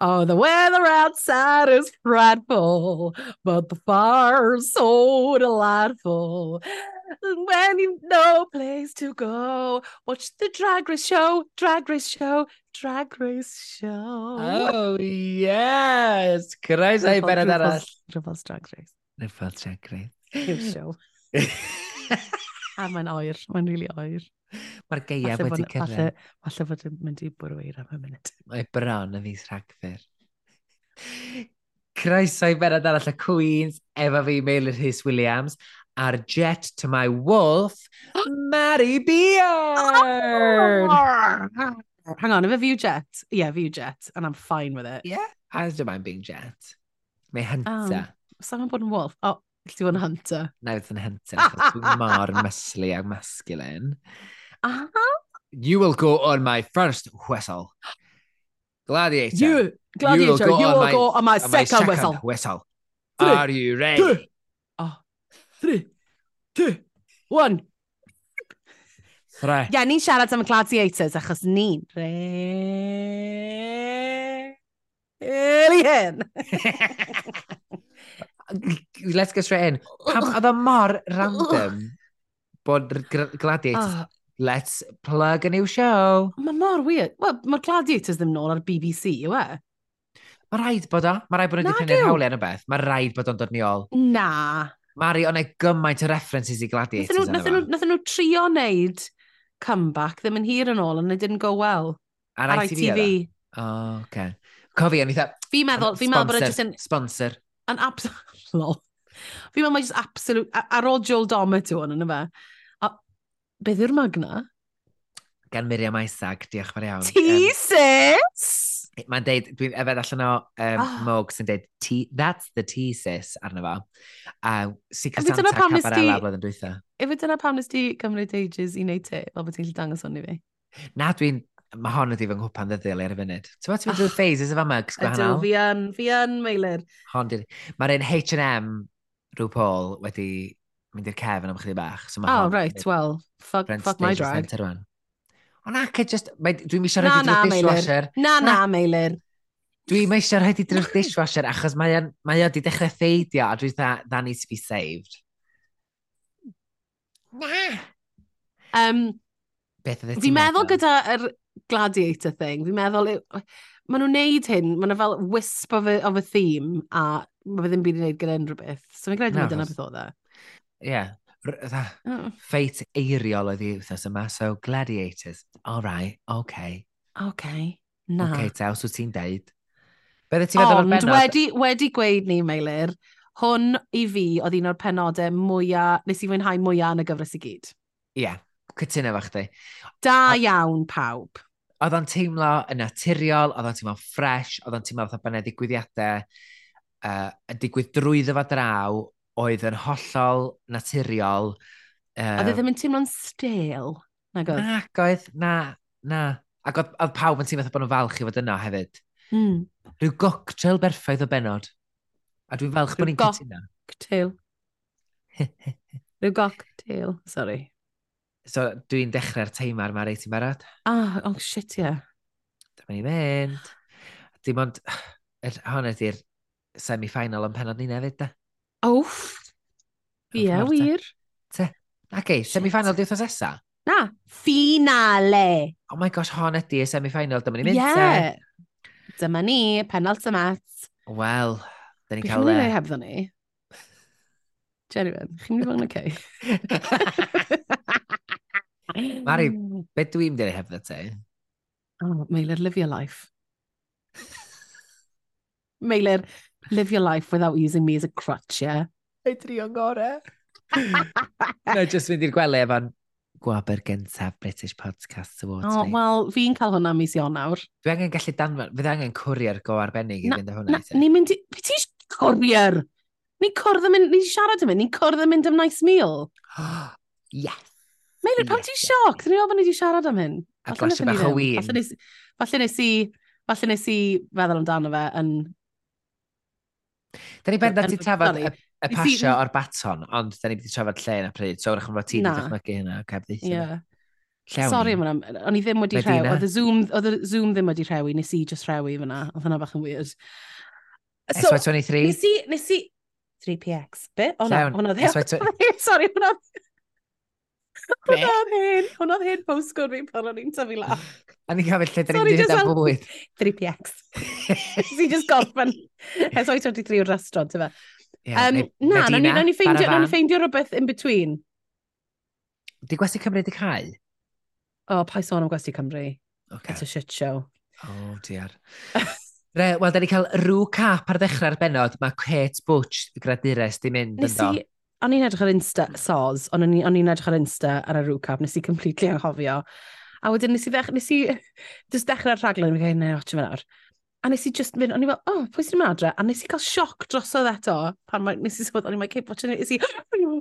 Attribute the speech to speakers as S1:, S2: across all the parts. S1: Oh, the weather outside is frightful, but the fire's so delightful. And When you've no place to go, watch the drag race show, drag race show, drag race show.
S2: Oh, yes! Cyrraedd ei
S1: RuPaul-
S2: benod arall.
S1: RuPaul's- RuPaul's drag race.
S2: Rhyfel Drag
S1: Rhyw show.
S2: Race.
S1: A mae'n oer, mae'n rili really oer.
S2: Mae'r gaeaf wedi
S1: bod-
S2: cyrraedd.
S1: falle, falle fod yn mynd i bwrw eir am y munud.
S2: Mae bron yn fis rhagfyr. Croeso i benod arall y Queens, efo fi Meilir Rhys Williams, a'r jet to my wolf, Mary Beard!
S1: Oh! Hang on, if a view jet. Yeah, view jet, and I'm fine with it.
S2: Yeah, I don't mind being jet.
S1: Oh.
S2: Mae hynta.
S1: Sa ma'n bod yn wolf? O, oh, ti fod yn hunter.
S2: Nawdd yn hynta, achos dwi mor mysli a masculine.
S1: Ah,
S2: You will go on my first whistle. Gladiator.
S1: you, Gladiator, you
S2: go on
S1: will
S2: my-
S1: go on my
S2: on my
S1: second whistle.
S2: whistle.
S1: Three,
S2: Are you ready?
S1: two, Three, two, one.
S2: Three.
S1: Ie, yeah, ni'n siarad am y gladiators, achos ni'n re... Eli hyn.
S2: Let's get straight in. Pam oedd o mor random bod r- gr- Gladiators,
S1: Oh,
S2: let's plug a new show.
S1: Mae mor weird. Wel, mae'r gladiators ddim nôl ar BBC, yw e?
S2: Mae rhaid bod o. Mae rhaid bod nhw wedi
S1: Nag
S2: prynu'r
S1: yw.
S2: hawliau yn y beth. Mae rhaid bod o'n dod ni ôl.
S1: Na.
S2: Mari, o'n e gymaint o references i Gladiators yn
S1: Nathyn nhw,
S2: yma.
S1: nathyn nhw trio wneud comeback ddim yn hir yn ôl, and it didn't go well.
S2: Ar
S1: Ar
S2: ITV. oedd o?
S1: ITV.
S2: O, oce. Cofi, o'n i dda...
S1: Fi'n meddwl, fi'n meddwl bod e
S2: Sponsor,
S1: jyst yn,
S2: Sponsor.
S1: yn absolute... Lol. Fi'n meddwl mae jyst absolute... a- Ar ôl Joel Domer tu hwn, yn y fe. A beth yw'r magna?
S2: Gan Miriam Aisag, diolch yn fawr iawn.
S1: Ti,
S2: Yym,
S1: sis!
S2: Mae'n deud, dwi'n efed allan o um,
S1: Ah.
S2: Moog sy'n deud, "Tea- that's the tea sis arno fo. A Secret
S1: Ydy, dyna
S2: Santa
S1: pam nes
S2: Cabarella
S1: ti-
S2: blwyddyn dwytha.
S1: Efe dyna pam nes ti cymryd ages i wneud te, fel bod ti'n gallu dangos hwn i fi.
S2: Na, dwi'n... Mae hon ydi fy nghwpan ddyddiol ar y funud. Ti'n meddwl, ti'n meddwl
S1: Ah.
S2: phases efo mugs
S1: Ydw,
S2: gwahanol?
S1: fi yn, fi yn, Meilir.
S2: Hon di... Mae'r un H&M rhyw Paul wedi mynd i'r cefn am chdi bach. So
S1: Oh, right, well, fuck, fuck my drag.
S2: Rwan. Ond ac e just... mae- Dwi'n misio
S1: Na,
S2: rhaid i
S1: na,
S2: drwy'r
S1: Meilir.
S2: dishwasher.
S1: Na, na, Meilir.
S2: Dwi'n misio rhaid i drwy'r dishwasher achos mae o'n- mae o wedi dechrau ffeidio a dwi'n dda, that needs to be saved. Na!
S1: Um,
S2: Beth oedd
S1: Fi'n meddwl gyda'r gladiator thing, fi'n meddwl, maen nhw'n neud hyn, maen nhw fel wisp of a, of a theme, a mae fe ddim byd i wneud gyda unrhyw beth. So fi'n credu
S2: Na,
S1: no, dyna
S2: achos-
S1: beth e. oedd e.
S2: Ie. R- dda- Feit eiriol oedd i wythnos yma, so gladiators. All right, okay.
S1: OK, na.
S2: Okay, te, os wyt ti'n deud. Bydde ti'n meddwl o'r
S1: Ond
S2: benod?
S1: wedi, wedi gweud ni, Meilir, hwn i fi oedd un o'r penodau mwyaf, nes i fwynhau mwyaf yn y gyfres i gyd.
S2: Ie, cytuno fo chdi.
S1: Da
S2: A-
S1: iawn pawb.
S2: Oedd o'n teimlo yn naturiol, oedd o'n teimlo'n ffres, oedd o'n teimlo fatha bynnag digwyddiadau, uh, y digwydd drwyddo fo draw, oedd yn hollol naturiol.
S1: A
S2: Uh,
S1: oedd e ddim yn teimlo'n stale, nag oedd?
S2: Ac oedd, na, na. Ac oedd, oedd pawb yn teimlo fatha bod nhw'n falch i fod yna hefyd. hmm.
S1: Mm.
S2: Rhyw goctrel berffaith o benod. A dwi'n falch bod
S1: Rhyw
S2: ni'n cytuno.
S1: Cocktail. Rhyw cocktail, sorry.
S2: So dwi'n dechrau'r teimar mae reit i'n barod.
S1: Ah, oh shit, yeah.
S2: Dyma ni'n mynd. Dim ond, yr- hon ydy'r semi-final yn penod ni'n hefyd, da.
S1: Wff. Ie,
S2: Hoff
S1: yeah,
S2: mor te.
S1: wir.
S2: Ac ei, semi-final diwethaf sesa.
S1: Na, finale.
S2: Oh my gosh, hon ydy y semi-final, dyma
S1: Ie.
S2: ni'n mynd. te.
S1: Yeah. Dyma ni, penalt y mat.
S2: Wel, da ni'n
S1: Beth
S2: cael
S1: yw'n ei
S2: e.
S1: hebddo ni? Genuine, chi'n mynd i fod yn okay?
S2: Mari. Be dwi'n mynd i'r hefyd te?
S1: Eh. Oh, Meilir, live your life. Meilir, live your life without using me as a crutch, yeah?
S2: Ei drio'n gore. Na, jyst mynd i'r gwely efo'n gwaber gyntaf British Podcast Awards.
S1: Oh,
S2: mate.
S1: wel, fi'n cael hwnna mis Ionawr.
S2: Dwi angen gallu danfon, fydd angen cwrio'r go arbennig i
S1: Na-
S2: fynd â
S1: Na,
S2: hwnna. te.
S1: ni'n mynd i... Be ti'n cwrier? Ni'n cwrdd yn mynd... Ni'n siarad yn mynd, ni'n cwrdd yn mynd am nice meal.
S2: Yes.
S1: Meilir, pam
S2: Yes,
S1: ti'n
S2: yes,
S1: sioc? Dwi'n meddwl bod ni wedi siarad am hyn.
S2: A
S1: Falle
S2: glasio
S1: wnaethon ni
S2: bach o
S1: ddim. Falle
S2: win.
S1: nes, falle nes i... Falle nes i feddwl amdano fe yn...
S2: Da ni bendant
S1: yn-
S2: i trafod
S1: sori.
S2: y, y
S1: Nes i-
S2: pasio o'r baton, ond da ni wedi trafod lle yn y pryd. So, wrach yn fod ti'n
S1: Na.
S2: dychmygu hynna. Okay,
S1: Ie.
S2: Llewn.
S1: Sori am hwnna, o'n i ddim wedi
S2: Medina.
S1: rhewi. Oedd y Zoom, oedd y Zoom ddim wedi rhewi, nes i just rhewi fyna. Oedd hwnna bach yn weird. So,
S2: SY23.
S1: nes i, nes i, 3PX, be? O na,
S2: Llawn.
S1: hwnna ddim.
S2: SY20
S1: Sori, hwnna
S2: Be?
S1: Hwnna oedd hen, hwnna oedd hen postcode fi pan o'n i'n tyfu la.
S2: A ni'n cael lle dyn ni'n
S1: Sorry,
S2: dweud am
S1: just
S2: bwyd.
S1: 3PX. Si just gorffen. SY23 yw'r restaurant, efe.
S2: Ie,
S1: Um,
S2: neu
S1: na, na,
S2: Medina,
S1: na ni ffeindio, na
S2: Baraban.
S1: ni ffeindio rhywbeth in between.
S2: Di gwesti Cymru di cael?
S1: O, oh, pa sôn am Gwesti Cymru. It's a shit show.
S2: Oh, diar. Re, wel, da ni cael rŵ cap ar ddechrau'r benod. Mae Kate Butch, gradures, di mynd
S1: Nes
S2: yndo.
S1: i, o'n i'n edrych ar Insta, soz, ond o'n i- o'n i'n edrych ar Insta ar y rwcab, nes i completely anghofio. A wedyn nes i, ddech, nes i just dechrau'r rhaglen, fi'n cael, ne, watch yma nawr. A nes i just mynd, o'n i fel, oh, pwy sy'n mynd adre? A nes i cael sioc drosodd eto, pan mae- nes i sylwedd, o'n i'n cael watching it, nes i,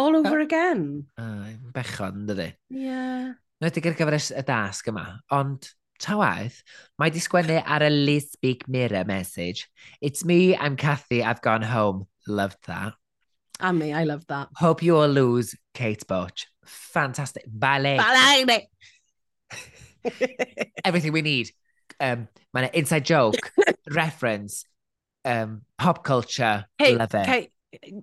S1: all over again.
S2: Ai, Bechod, yn dydi.
S1: Yeah.
S2: Nwedig ar gyfer y s- y dasg yma. Ond, ta waith, mae di sgwennu ar y Liz Speak Mirror message. It's me, I'm Cathy, I've gone home. Loved that.
S1: A me, I love that.
S2: Hope you all lose Kate Butch. Fantastic. Ballet.
S1: Bala i me!
S2: Everything we need. Um, mae yna inside joke, reference, um, pop culture.
S1: Hey,
S2: Love it.
S1: Kate,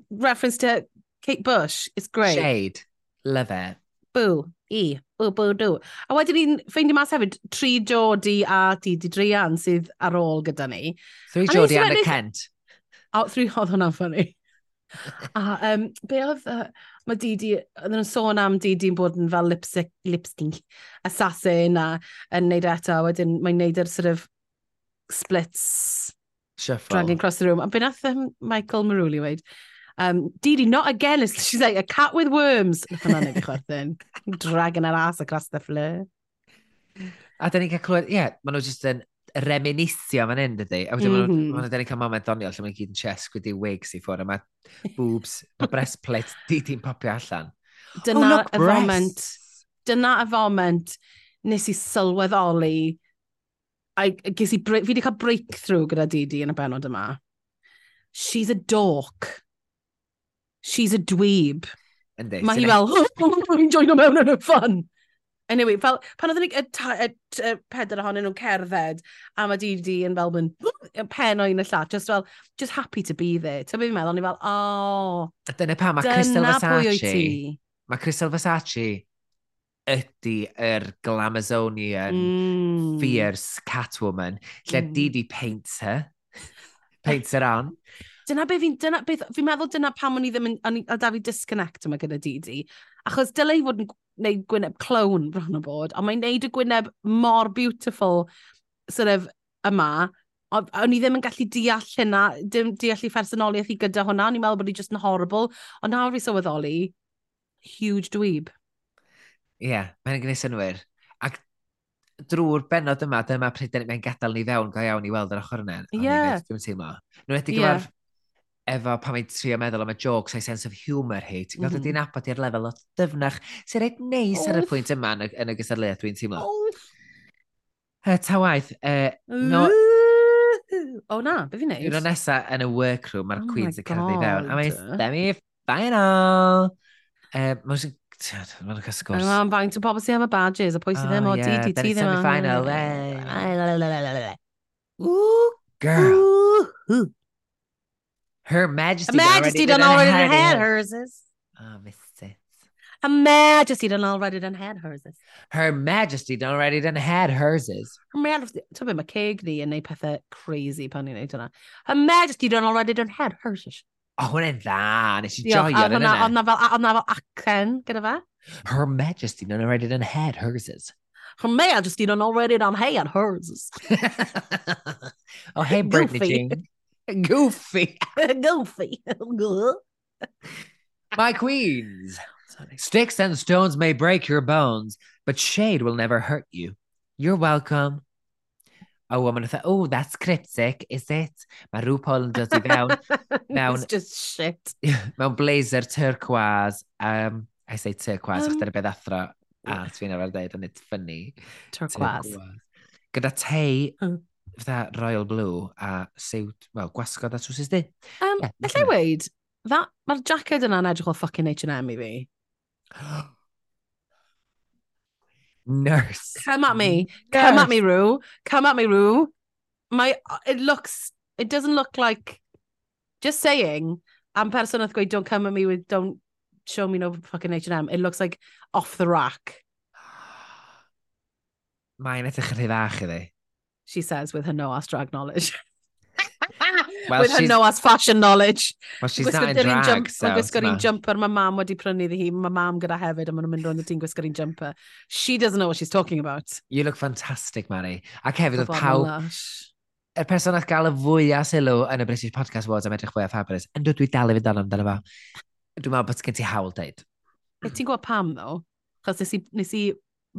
S1: reference to Kate Bush, it's great.
S2: Shade. Love it.
S1: bw, i, bw, bw, dw. A wedyn ni'n ffeindio mas hefyd, tri Jody a di di Drian sydd ar ôl gyda ni. A
S2: Three
S1: nes i
S2: Jodie and a
S1: wedyn-
S2: Kent.
S1: A thrwy oedd hwnna'n ffynnu. A um, be oedd, uh, mae Didi, oedden nhw'n sôn am Didi'n bod yn fel lipstick, lipstick assassin a yn neud e eto, a wedyn mae'n neud yr sort of splits
S2: Shuffle.
S1: dragging across the room. A be nath um, Michael Maruli weid, um, Didi, not again, it's- she's like a cat with worms. Nath hwnna'n neud i chwerthin. Dragging her ass across the floor.
S2: A da ni'n cael clywed, ie, yeah, maen nhw jyst yn reminisio fan hyn, dydy. A wedyn mm -hmm.
S1: Mhm.
S2: maen nhw, da ni'n cael moment ddoniol lle maen nhw gyd yn chesg wedi wigs i ffwrdd. A mae boobs, mae breastplate, di di'n popio allan.
S1: dyna
S2: Oh, look,
S1: y
S2: breasts.
S1: foment, dyna y foment nes i sylweddoli, a a ges i, bre- fi wedi cael breakthrough gyda Didi yn y benod yma. She's a dork. She's a dweeb.
S2: Yndi.
S1: Mae hi
S2: sy'n
S1: fel, "Oh, fi'n joino mewn yn y ffan. Anyway, fel, pan oedden ni y, ta- y, t- y peder ohonyn nhw'n cerdded, a mae Didi yn fel, mynd, y pen o'i yn y llat, just fel, just happy to be there. Ta beth fi'n meddwl, o'n i fel, oh,
S2: A Dyna pa, mae Crystal
S1: dyna pwy o'i
S2: Versace.
S1: ti.
S2: Mae Crystal Versace ydy yr glamazonian,
S1: Mm.
S2: fierce catwoman, lle
S1: Mm.
S2: di di paint her. paint her on.
S1: Dyna beth fi'n dyna beth fi'n meddwl dyna pam o'n i ddim yn o'n i- oedd da fi disconnect yma gyda Didi. Achos dylai fod yn gw- neud gwyneb clown bron o bod, ond mae'n neud y gwyneb mor beautiful sort of yma. O- O'n i ddim yn gallu deall hynna, dim deall i phersonoliaeth i gyda hwnna, o'n i'n meddwl bod hi just yn horrible. Ond nawr fi sylweddoli, huge dweeb.
S2: Ie, yeah, mae'n gwneud synwyr. Ac drwy'r benod yma, dyma pryd dyn- mae'n gadael ni fewn go iawn i weld yr ochr yna. Ond i
S1: Ie.
S2: beth, Dwi'n teimlo. Nw wedi
S1: Ie.
S2: gyfer efo pan mae'n trio meddwl am y jokes a'i sense of humour hi. Ti'n gweld
S1: Mhm.
S2: ydy'n abod i'r lefel o dyfnach sy'n reit neis ar y
S1: Wff.
S2: pwynt yma yn y, yn y gystadleuaeth, dwi'n teimlo.
S1: Oh,
S2: Uh, ta waith, uh, No.
S1: no. O na, beth fi'n
S2: Dwi'n o'n
S1: neud?
S2: nesa yn y workroom, mae'r
S1: Oh my
S2: Queens yn cerdded i fewn. A mae'n
S1: God.
S2: stem i final. Uh, mae'n Mae'n cael sgwrs.
S1: Mae'n faint o pobl sy'n am y badges, a pwy sydd ddim
S2: Oh,
S1: o
S2: yeah,
S1: Didi,
S2: then
S1: ti
S2: it's
S1: ddim o.
S2: semi-final, eh.
S1: final,
S2: Ooh, girl.
S1: Ooh,
S2: Her Majesty,
S1: Her Majesty done already done had hers.
S2: Oh, missed it.
S1: Her Majesty done already done had hers.
S2: Her Majesty done already done had herses.
S1: Her Majesty, ti'n byd mae ceg ni yn neud pethau crazy pan ni'n neud hwnna. Her Majesty done already done had hers.
S2: O, oh, hwnna'n dda. Nes i
S1: Diolch,
S2: joio
S1: a
S2: yn
S1: hwnna,
S2: yna.
S1: hwnna fel, a- hwnna fel acen gyda fe.
S2: Her Majesty done already done had herses.
S1: Her Majesty done already done had hers.
S2: oh, hey, Britney
S1: Goofy.
S2: Jean. Goofy.
S1: Goofy.
S2: My queens. Sticks and stones may break your bones, but shade will never hurt you. You're welcome. A woman thought, oh, that's cryptic, is it? Mae RuPaul yn dod i fewn
S1: It's just shit.
S2: mewn blazer turquoise. Um, I say turquoise, um,
S1: Um,
S2: achos dyna beth athro. A ti'n arfer dweud, and it's funny.
S1: Turquoise.
S2: Gyda tei,
S1: Mm.
S2: fatha royal blue a siwt, wel, gwasgod a trwsus di.
S1: Um,
S2: Ie,
S1: Alla i weid, that- mae'r jacket yna'n edrych o ffucking H&M i fi.
S2: Nurse.
S1: Come at me.
S2: Mm-hmm.
S1: Come at me, Rue. Come at me, Rue. My it looks it doesn't look like just saying I'm persona grade, don't come at me with don't show me no fucking H and M. It looks like off the rack,
S2: Mae'n edrych yn rhyddach iddi.
S1: she says with her no ass drag knowledge.
S2: Wel,
S1: with her
S2: she's-
S1: no ass fashion knowledge.
S2: Well, she's
S1: Gwisgo
S2: not in
S1: dyn ni'n
S2: drag,
S1: jump-
S2: so...
S1: Mae'n gwisgo'r un
S2: t'mo'.
S1: jumper mae mam wedi prynu iddi hi. Mae mam gyda hefyd, a maen nhw'n mynd rownd y tîn gwisgo'r un jumper. She doesn't know what she's talking about.
S2: You look fantastic, Mary. Ac hefyd, oedd
S1: Pobol
S2: pawb
S1: lush.
S2: y person nath gael y fwyaf sylw yn y British Podcast Awards am edrych fwyaf fabulous, yn dod dwi dal i fynd ond amdano fo. Dwi'n meddwl bod gen ti hawl deud.
S1: Be Ti'n gwybod pam, ddo? Chos nes i, nes i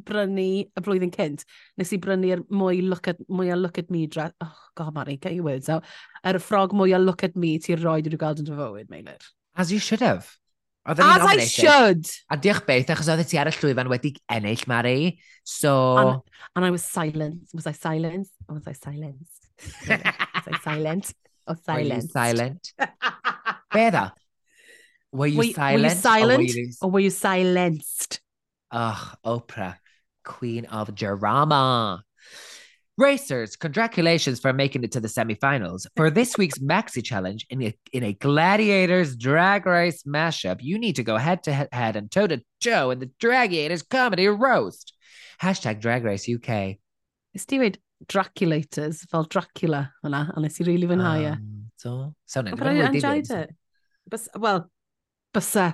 S1: brynu y flwyddyn cynt. Nes i brynu'r mwy look at, mwy a look at me dress. Oh, god, Mari, get your words out. Yr ffrog mwy a look at me ti'n rhoi dwi'n gweld yn dy fywyd, Meilir.
S2: As you should have. Oedden ni'n
S1: As I
S2: nominated.
S1: should.
S2: A diolch beth, achos oeddet ti ar y llwyfan wedi ennill, Mary. So...
S1: An- And I was silent. Was I silent? Or was I silenced? Was I silent? Or
S2: Were you
S1: silent?
S2: silent? Be dda? Were you
S1: Were- were you
S2: silent? or
S1: silent?
S2: were you-
S1: Or were you silenced?
S2: Ugh, Oprah, queen of drama. Racers, congratulations for making it to the semifinals. For this week's maxi challenge in a, in a gladiators drag race mashup, you need to go head to he- head and toe to toe in the Dragiators comedy roast. Hashtag Drag Race UK.
S1: Nes ti wedi Draculators fel Dracula yna, a nes i rili really fwynhau e.
S2: Um, so, so
S1: But I enjoyed it. e? Bys, well, bysa.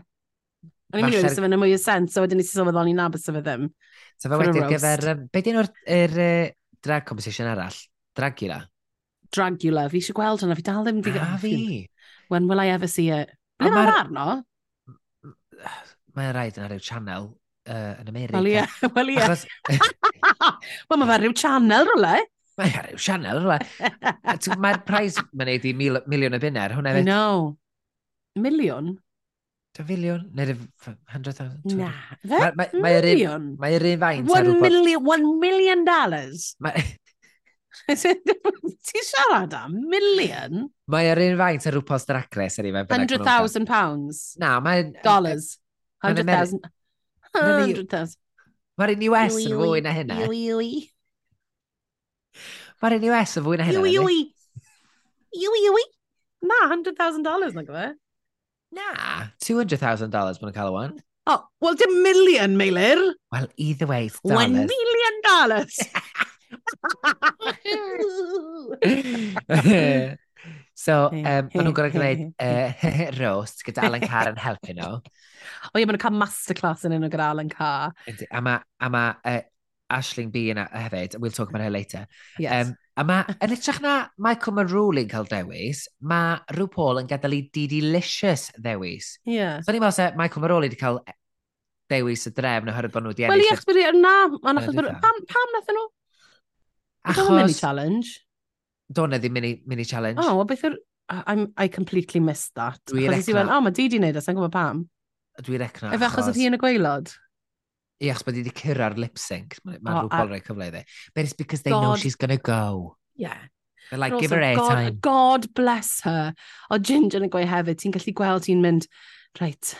S1: O'n i'n mynd i
S2: Falle'r-
S1: fynd yn mwy o sens, so wedyn nes i sylweddoli na bysa fe ddim.
S2: So fe
S1: for a
S2: wedi ar
S1: roast.
S2: gyfer, um, be dyn o'r uh, drag competition arall? Dragula.
S1: Dragula, fi eisiau gweld hwnna, fi dal ddim wedi...
S2: A fi.
S1: When will I ever see it?
S2: A
S1: Ble
S2: ma'r-
S1: mae'r arno?
S2: Mae'n rhaid yna ryw channel uh, yn America.
S1: Wel ie, wel ie.
S2: Achos
S1: Wel mae fe rhyw channel rhywle.
S2: mae ar yw sianel rhywle. A ti- Mae'r prize mae'n neud i mil, miliwn y bunner. Hwna
S1: I
S2: fe,
S1: know. Miliwn?
S2: dy filiwn? Neu dy f- 100,000?
S1: Na.
S2: 200,000?
S1: Fe?
S2: Ma- ma- Mae'r un-
S1: Miliwn?
S2: mae'r un faint ar
S1: One
S2: rhywbeth.
S1: million, one million dollars.
S2: ma-
S1: Ti siarad am? Million?
S2: Mae'r un faint ar rhywbeth drag race ar i fe. bynnag ma' nhw'n gael.
S1: 100,000 pounds.
S2: Na, mae'n...
S1: Dollars.
S2: Yn Ameri-
S1: 100,000.
S2: Yn y-
S1: 100,000.
S2: Mae'r un US
S1: Iwi,
S2: yn
S1: iwi,
S2: fwy na hynna.
S1: Iwi, iwi.
S2: Mae'r un US yn fwy na hynna.
S1: Iwi,
S2: yndi?
S1: iwi. Iwi, iwi. Na, $100,000 na gyfer.
S2: Na, $200,000 mae'n cael o wan.
S1: Oh, well, dim million, Meilir.
S2: Well, either way, it's
S1: One
S2: dollars.
S1: million dollars.
S2: so,
S1: He,
S2: um, maen nhw'n gorau
S1: he,
S2: gwneud
S1: he,
S2: uh, roast gyda Alan Carr yn helpu nhw.
S1: o ie, maen nhw'n cael masterclass yn enw gyda Alan Carr.
S2: Yndi, A mae ma, uh, Ashling B yna hefyd, we'll talk about her later.
S1: Yes.
S2: Um, a mae, yn ytrach na Michael Marwling cael dewis, mae Rhw Paul yn gadael i Didi Licious ddewis.
S1: yeah.
S2: So, ni'n meddwl se Michael Marwling wedi cael dewis y drefn oherwydd bod nhw wedi
S1: Wel, ie,
S2: ennill.
S1: achos bod i, na, ond
S2: Na,
S1: achos
S2: dwi'n
S1: bod,
S2: dda.
S1: pam, pam nath nhw?
S2: y-
S1: Achos... Mini
S2: Achos,
S1: challenge.
S2: do'n e ddim mini, mini challenge.
S1: Oh, well, beth yw'r... I- I'm, I completely missed that.
S2: Dwi'n
S1: Achos nes i
S2: recno.
S1: went, oh, mae di di wneud, sa'n gwybod pam.
S2: Dwi'n recno
S1: Efe achos oedd hi yn y gweilod.
S2: Ie, achos bod hi wedi cyrra'r lip sync. Mae
S1: O,
S2: ma
S1: a-
S2: oh, rhywbeth rhaid cyfle iddi. But it's because they know
S1: God.
S2: she's gonna go.
S1: Yeah.
S2: They're like,
S1: And
S2: give
S1: also,
S2: her
S1: God,
S2: airtime.
S1: God bless her. O Ginger yn y gwe hefyd, ti'n gallu gweld hi'n mynd, reit,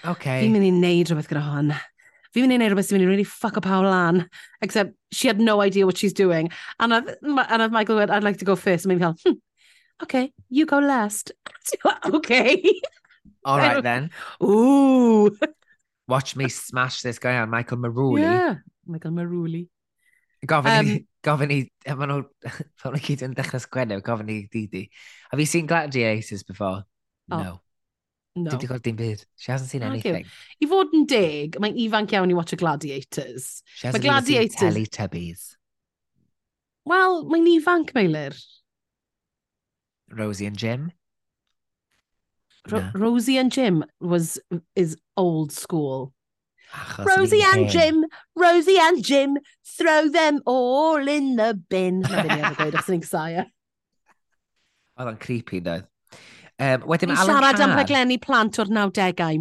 S2: Okay.
S1: fi'n mynd i wneud rhywbeth gyda hon. Fi'n mynd i wneud rhywbeth sy'n mynd i really fuck up our lan. Except she had no idea what she's doing. And I've, and I've Michael went, I'd like to go first. And maybe I'll, hmm, okay, you go last. okay.
S2: All right then.
S1: Ooh.
S2: Watch me smash this guy on Michael Maruli.
S1: Yeah. Michael Maruli.
S2: Gofyn i,
S1: Um,
S2: gofyn i, a maen nhw, maen nhw gyd yn dechrau sgwennu, gofyn i Didi. Have you seen Gladiators before?
S1: O,
S2: no.
S1: Oh, No.
S2: Did you dim byd? She hasn't seen
S1: Naci.
S2: anything.
S1: I fod yn deg, mae'n ifanc iawn i watch y Gladiators.
S2: She hasn't even seen
S1: Gladiators-
S2: Teletubbies.
S1: Wel, mae'n ifanc, Meilir.
S2: Rosie and Jim.
S1: Ro
S2: Na.
S1: Rosie and Jim was is old school.
S2: Achos
S1: Rosie
S2: ni'n
S1: and
S2: hen.
S1: Jim, Rosie and Jim, throw them all in the bin. Na ddim yn gweud achos ni'n gsaia.
S2: Oedd o'n creepy, ddoedd. Um, wedyn
S1: Ni'n
S2: mae Alan
S1: siarad am
S2: Carr.
S1: rhaglenni plant o'r 90au.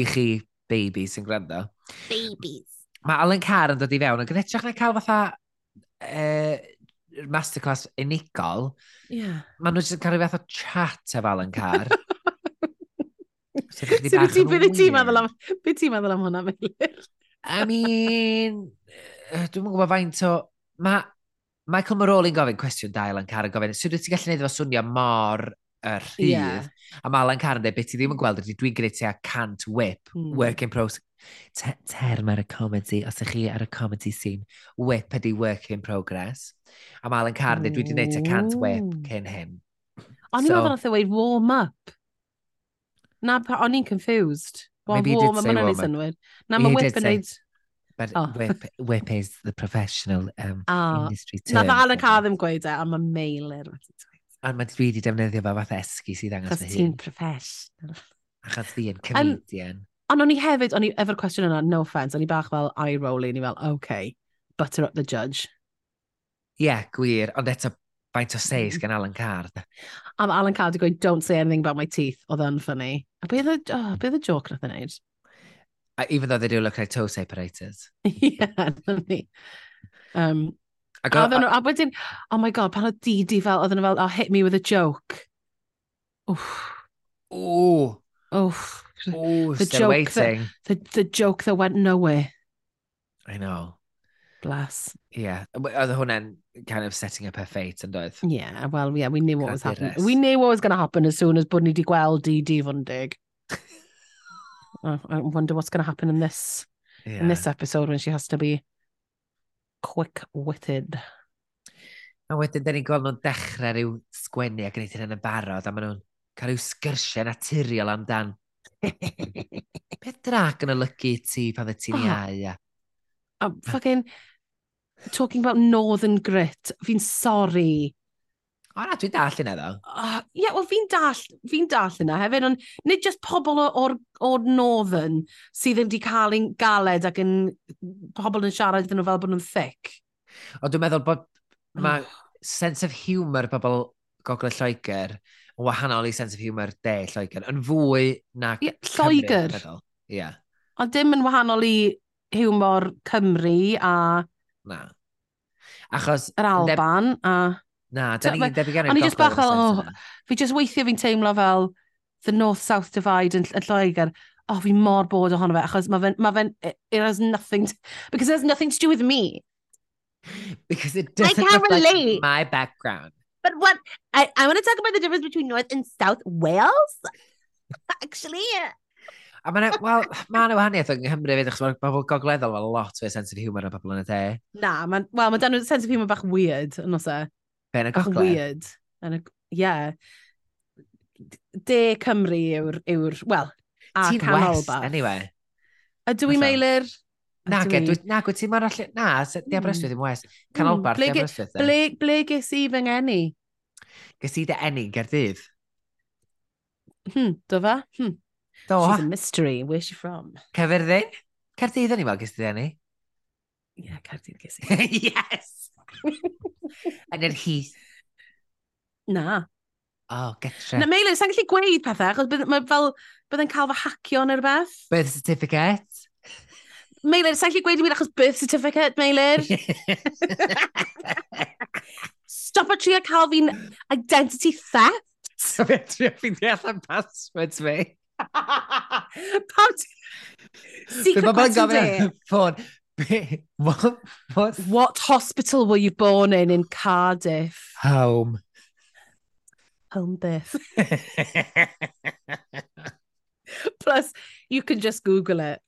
S2: i chi babies sy'n gwrando.
S1: Babies.
S2: Mae Alan Carr yn dod i fewn, ac yn hytrach na cael fatha uh, masterclass unigol,
S1: Yeah.
S2: maen nhw jyst yn cael rhyw fath o chat efo Alan Carr. Sefydlu
S1: Sydd
S2: bach
S1: wyt ti,
S2: yn
S1: beth ti'n
S2: weird.
S1: meddwl am, beth ti'n meddwl am hwnna, Meilir?
S2: I mean, yy, dwi'm yn gwybod faint o... Ma Michael Maroling gofyn cwestiwn da i Alan Carr yn gofyn, sut wyt ti'n gallu gwneud efo swnio mor y rhydd?
S1: Ie.
S2: A mae Alan Carr yn dweud, beth ti ddim yn gweld ydy, dwi'n gwneud tua cant whip,
S1: Mm.
S2: work in progress. Te term ar y comedy, os ych chi ar y comedy scene, whip ydy work in progress. A mae Alan Carr yn dweud, dwi wedi gwneud tua cant whip
S1: Ooh.
S2: cyn hyn.
S1: O'n i'n
S2: So-
S1: meddwl nath o weid warm up. Na, pa- o'n i'n confused. Wel,
S2: Maybe he did
S1: warm up,
S2: say
S1: ma'n ei
S2: warm up.
S1: synwyr. Na,
S2: He
S1: mae
S2: did
S1: whip yn
S2: say-
S1: neud...
S2: But
S1: Oh.
S2: whip, whip is the professional um,
S1: Ah,
S2: industry term.
S1: nath Alan
S2: for
S1: Carr
S2: it.
S1: ddim gweud e, ond mae Meilir wedi dweud.
S2: Ond mae dwi wedi defnyddio fe fath esgus i ddangos
S1: Chos
S2: fy
S1: ti'n
S2: hun.
S1: professional.
S2: Achos fi yn
S1: Yn-
S2: comedian.
S1: Ond o'n i hefyd, o'n i efo'r cwestiwn yna, no offence, o'n i bach fel eye-rolling, o'n i fel, OK, butter up the judge.
S2: Ie, yeah, gwir. Ond eto, faint o
S1: Mm.
S2: seis gan Alan Carr. de?
S1: Am Alan Carr wedi gweud, don't say anything about my teeth, oedd yn funny. A beth oedd y- oh, beth oedd y joke nath o'n neud?
S2: Uh, Even though they do look like toe separators.
S1: Ie, nath ni. Um,
S2: I
S1: A,
S2: got,
S1: oedden
S2: uh,
S1: nhw, a wedyn, oh my god, pan oedd Didi fel, oedden nhw fel, oh, hit me with a joke. Oof,
S2: ooh,
S1: oof.
S2: ooh,
S1: The
S2: still
S1: joke
S2: waiting.
S1: that- The, the joke that went nowhere.
S2: I know.
S1: Bless.
S2: Yeah. Oedd hwnna'n kind of setting up her fate yn doedd.
S1: Yeah, well, yeah, we knew what was happening.
S2: Cadeiras.
S1: We knew what was going to happen as soon as bod ni wedi gweld Didi Fundig. oh, I wonder what's going to happen in this in
S2: Yeah.
S1: this episode when she has to be quick-witted.
S2: A wedyn, da ni'n gweld nhw'n dechrau rhyw sgwennu ac yn eithin yn y barod, a maen nhw'n cael rhyw sgyrsiau naturiol amdan. Beth drac yn olygu i ti pan dde ti'n
S1: Oh.
S2: iau? a-
S1: A Oh, fucking talking about northern grit. Fi'n sorry.
S2: O na, dwi'n dall yna ddo.
S1: Uh, yeah, wel fi'n dall, fi'n dall yna hefyd, ond nid just pobl o- o'r, or northern sydd wedi cael ein galed ac yn pobl yn siarad iddyn nhw fel bod nhw'n thick.
S2: Ond dwi'n meddwl bod mae
S1: Oh.
S2: sense of humour pobl Gogledd Lloegr yn wahanol i sense of humour de Lloegr, yn fwy na
S1: Ie,
S2: Cymru, dwi'n
S1: Lloegr.
S2: meddwl. Ie, yeah,
S1: Ond dim yn wahanol i hiwmor Cymru a
S2: na. Achos,
S1: yr
S2: Neb-
S1: Alban, a
S2: na,
S1: So,
S2: da ni'n
S1: ma-
S2: debyg gan
S1: o'n
S2: i'r
S1: i jyst
S2: Gogledd
S1: bach fel,
S2: yn y
S1: "Oh,
S2: sense yna.
S1: fi just weithio fi'n teimlo fel the North-South Divide yn, yn Lloegr, oh, fi mor bod ohono fe, achos mae fe'n, ma fe it, it has nothing, to, because it has nothing to do with me.
S2: Because it doesn't
S1: can't
S2: reflect
S1: relate.
S2: my background.
S1: But what I, I want to talk about the difference between North and South Wales. Actually,
S2: A mae well, ma na wahaniaeth yng Nghymru fyd, achos mae pobl gogleddol fel lot o'r sense of humour o bobl yn y de.
S1: na, man, well, mae dan nhw'n sense of humour bach weird, yn oes e?
S2: Ben y
S1: Bach yn
S2: gogledd.
S1: weird. Yn y, yeah. De Cymru yw'r, yw well, a
S2: Ti'n
S1: canol
S2: west,
S1: bach.
S2: anyway.
S1: Ydw i
S2: Fatha.
S1: meilir?
S2: Na,
S1: Ydw i.
S2: ged, na, gwyt ti'n ma'n allu... Na, se- di Aberystwyth ddim west. Canolbarth,
S1: Hmm. ble
S2: di
S1: ge-
S2: Aberystwyth. de.
S1: Ble, ble ges i fy ngeni?
S2: Ges i dy enni'n Gerdydd.
S1: Hmm, do fe? Hmm.
S2: Do,
S1: She's a mystery. Where's she from?
S2: Caerfyrddin? Caerdydd o'n i fel ges i dy enni.
S1: Yeah, Cardydd ges i.
S2: yes! Yn yr hith.
S1: Na.
S2: O, oh,
S1: Na,
S2: getre.
S1: meilir, sa'n gallu gweud pethau, achos bydd- mae fel, byddai'n cael fy hacio neu rhywbeth.
S2: Birth certificate.
S1: Meilir, sa'n gallu gweud i mi achos birth certificate, Meilir? Stop o trio cael fi'n identity theft.
S2: so fe trio ffeindio allan passwords fi.
S1: Pam ti... Secret
S2: Dwi'n bod yn
S1: question
S2: gofyn
S1: day.
S2: ar y ffôn. Be- What? What?
S1: What hospital were you born in in Cardiff?
S2: Home.
S1: Home birth. Plus, you can just Google it.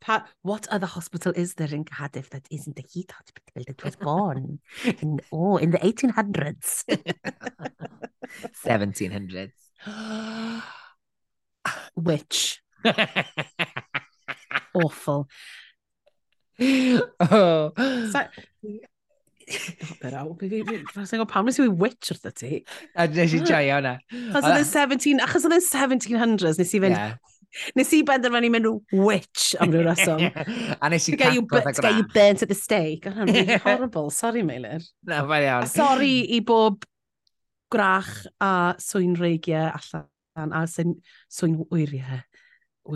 S1: Pa- what other hospital is there in Cardiff that isn't the Heath Hospital that was born? in, oh, in the 1800s.
S2: 1700s.
S1: Which, awful.
S2: oh.
S1: Sa- But out. Fysa'n gwybod pam nes i witch wrth y ti.
S2: A nes i joio hwnna.
S1: Achos oedd yn 17, achos oedd yn 1700s, nes i fynd,
S2: Ie.
S1: nes i benderfynu mynd witch am ryw reswm.
S2: A nes i
S1: To get, you, bu-
S2: cacod
S1: to
S2: ac
S1: get you
S2: yna.
S1: burnt at the stake. Oh, really horrible. Sorry, Meilir.
S2: Na, mae'n
S1: A
S2: iawn.
S1: sorry i bob grach a swyn reigiau allan a swyn, swyn wyriau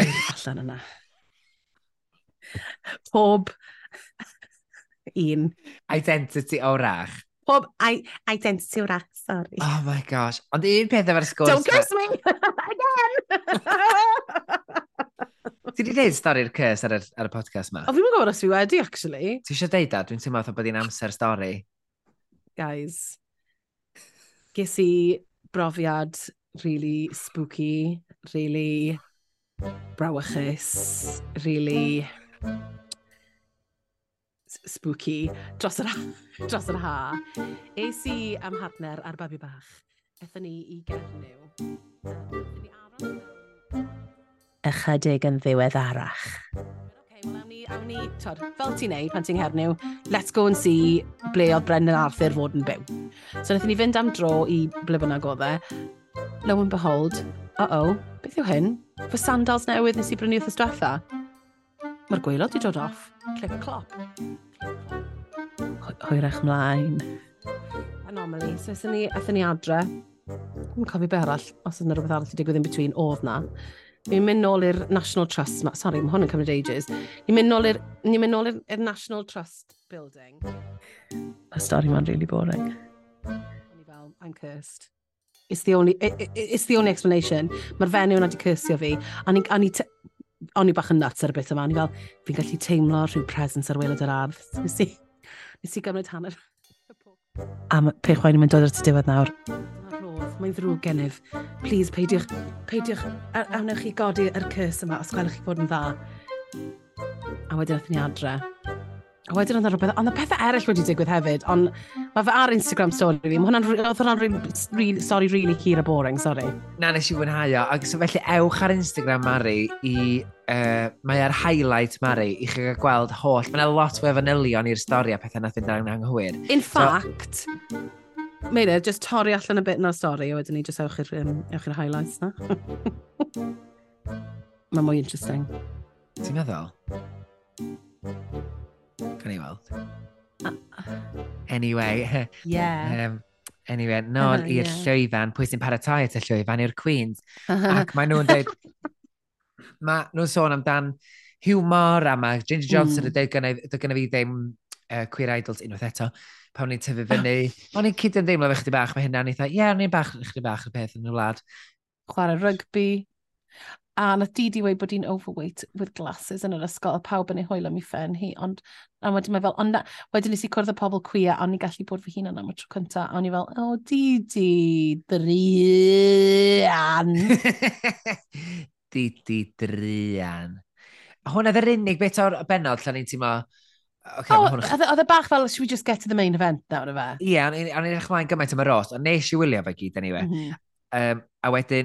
S1: wir allan yna. Pob un.
S2: Identity orach.
S1: Pob i- identity wrach, sorry.
S2: Oh my Oh, gosh. Ond un peth efo'r sgwrs...
S1: Don't
S2: ma-
S1: curse me! Again!
S2: Ti di deud stori'r cys ar y, ar y podcast ma?
S1: O, fi'n gwybod os fi wedi, actually.
S2: Ti eisiau deud da? Dwi'n teimlo fatha bod hi'n amser stori.
S1: Guys. Ges i brofiad really spooky, really brawychus, really s- spooky dros yr, ha- dros yr ha. Es i am hanner ar babi bach. Ethon ni i Gernyw. a nathon ni aros am- Ychydig yn ddiweddarach. Okay, well, awn ni, awn ni, tod, fel ti'n neud pan ti'n hernyw, let's go and see ble oedd Brendan Arthur fod yn byw. So wnaethon ni fynd am dro i ble bynnag oedd e. Lo and behold, uh-oh, beth yw hyn? Fy sandals newydd nes i brynu wrth ystwetha. Mae'r gweilod wedi dod off. Clip clop. Hw- Hwyrach mlaen. Anomaly. So ethyn ni, ethyn ni adre. Dwi'n cofio be arall, os yna rhywbeth arall wedi digwydd in between, oedd na. Ni'n mynd nôl i'r National Trust, ma, sorry, mae hwn yn cymryd ages. Ni'n mynd nôl i'r ni mynd nôl i'r- i'r National Trust building. Y stori ma'n really boring. O'n i fel, I'm cursed. It's the only, i- i- it's the only explanation. Mae'r fenyw yna wedi cyrsio fi. A ni, a ni, te- o'n i bach yn nuts ar y bit yma. O'n i fel, fi'n gallu teimlo rhyw presence ar welod yr ardd. Nes i, nes i gymryd hanner. A mae pechwain yn mynd dod ar ty diwedd nawr. Dyma rodd, mae'n ddrwg gennyf. Please, peidiwch, peidiwch, a- awnewch chi godi yr cys yma os gwelwch chi bod yn dda. A wedyn athyn ni adre. A wedyn oedd 'na rhywbeth, ond y pethau eraill wedi digwydd hefyd, ond mae fe ar Instagram story fi, mae hwnna'n, re- oedd hwnna'n really, really, sorry, really hir a boring, sorry.
S2: Na nes i wynhau o, ac so felly ewch ar Instagram Mari i, uh, mae ar highlight Mari i chi gael gweld holl, mae yna lot o efanylion i'r stori a pethau na fynd ar anghywir.
S1: In fact, Meina, just torri allan y bit na'r stori, a wedyn ni just ewch i'r um, ewch i'r highlights na. Mae mwy interesting.
S2: Ti'n meddwl? Can i weld? Anyway,
S1: Yeah.
S2: um, anyway, nôl
S1: Yy,
S2: i'r
S1: Ah, ie. Ah.
S2: llwyfan, pwy sy'n paratoi at y llwyfan yw'r Queens.
S1: Ac
S2: Ac mae nhw'n dweud, mae nhw'n sôn amdan humor a mae Ginger Johnson
S1: Mm.
S2: yn dweud gynnau, doedd gynnau fi ddim uh, queer idols unwaith eto, pan o'n i'n
S1: Ah.
S2: tyfu fyny. O'n i'n cyd yn deimlo fe chdi bach, mae hynna'n eitha, ie, yeah, o'n i'n bach, chdi bach y peth yn y wlad.
S1: chwarae rygbi. A nath Didi weid bod hi'n overweight with glasses yn yr ysgol, a pawb yn ei hwyl am ei ffen hi. Ond, a wedyn mae fel, ond na, wedyn nes i cwrdd â pobl cwia, a o'n i gallu bod fy hunan am y tro cynta. A o'n i fel, o, oh, Didi, drian. Mm.
S2: Didi drian. Hwn oedd yr unig beth o'r benod lle o'n i'n teimlo, okay,
S1: O,
S2: oh, hwn...
S1: oedd oedd e bach fel, should we just get to the main event nawr o fe?
S2: Ie, yeah, o'n i'n o'n i'n edrych mlaen gymaint am y rost, ond nes i wylio fe gyd, anyway.
S1: Mhm.
S2: Um, a wedyn,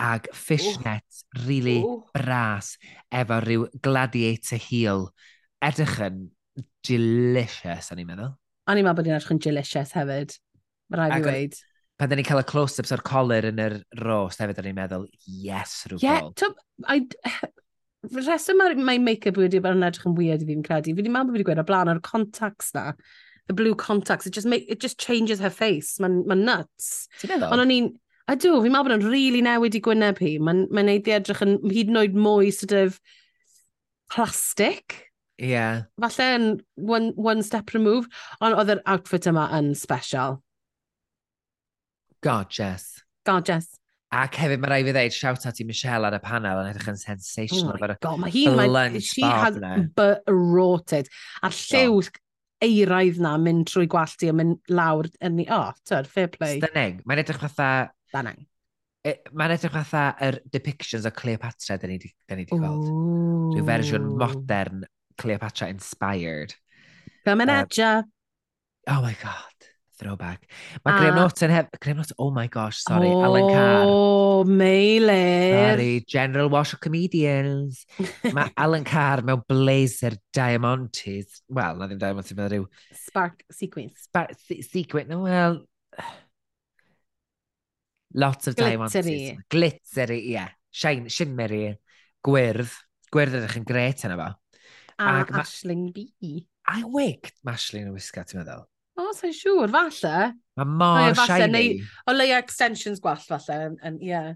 S2: ag fishnet really
S1: oh.
S2: bras efo rhyw gladiator heel. Edrych yn delicious, o'n i'n meddwl.
S1: O'n i'n meddwl bod hi'n edrych yn delicious hefyd. Mae rai fi
S2: Ac o'n-
S1: weid.
S2: Pan da ni'n cael y close-ups o'r colur yn yr rost hefyd, o'n i'n meddwl, yes, rhyw
S1: Ie, twb, fy rheswm mae mae make-up wedi bod yn edrych yn weird i fi fi'n credu. Fi wedi meddwl bod fi wedi gweud o blaen o'r contacts na. The blue contacts, it just, make, it just changes her face. Mae'n ma nuts.
S2: Ti'n meddwl?
S1: Ond o'n i'n... Ydw, fi'n meddwl bod o'n rili really newid i gwyneb hi. Mae'n ma neud i edrych yn hyd yn oed mwy sort of plastic.
S2: Ie.
S1: Falle yn one, one step removed. Ond oedd yr outfit yma yn special.
S2: Gorgeous.
S1: Gorgeous.
S2: Ac hefyd mae rai fi ddeud, shout out i Michelle ar y panel, yn edrych yn
S1: Oh
S2: sensational.
S1: my
S2: efo'r-
S1: god, mae hi'n... mae-
S2: lunch
S1: She
S2: bar
S1: has
S2: yna.
S1: berotid. A'r lliw eiraidd na mynd trwy gwallt i a mynd lawr yn ni... Oh, tyd, fair play.
S2: Stunning. Mae'n edrych fatha...
S1: Danang.
S2: e, Mae'n edrych fatha yr depictions o Cleopatra dyn ni wedi gweld.
S1: Rhyw
S2: Rhyw fersiwn modern Cleopatra inspired.
S1: Coming
S2: Yy,
S1: at ya.
S2: Oh my god. Throwback.
S1: A-
S2: Mae Graham Norton hef... Graham Norton, oh my gosh, sorry. Alan Carr.
S1: Oh, Meilir.
S2: Sorry, General Wash of Comedians. Mae Alan Carr mewn blazer diamantes. Wel, na ddim diamantes, mae rhyw
S1: Spark sequence.
S2: spa- se- secret, no, well... Lots of diamantes.
S1: Glittery.
S2: Glittery, ie. Yeah. Shine, shimmery, gwyrdd, Gwerddrych yn gret yna fo.
S1: A
S2: Ac ma-
S1: Ashling B.
S2: I wic, Mashlin yn wisga, ti'n meddwl?
S1: O, sa'n siŵr, falle.
S2: Mae mor
S1: Ie, falle,
S2: shiny.
S1: neu- O leia extensions gwell, falle. yn- yn- Ie. Yeah.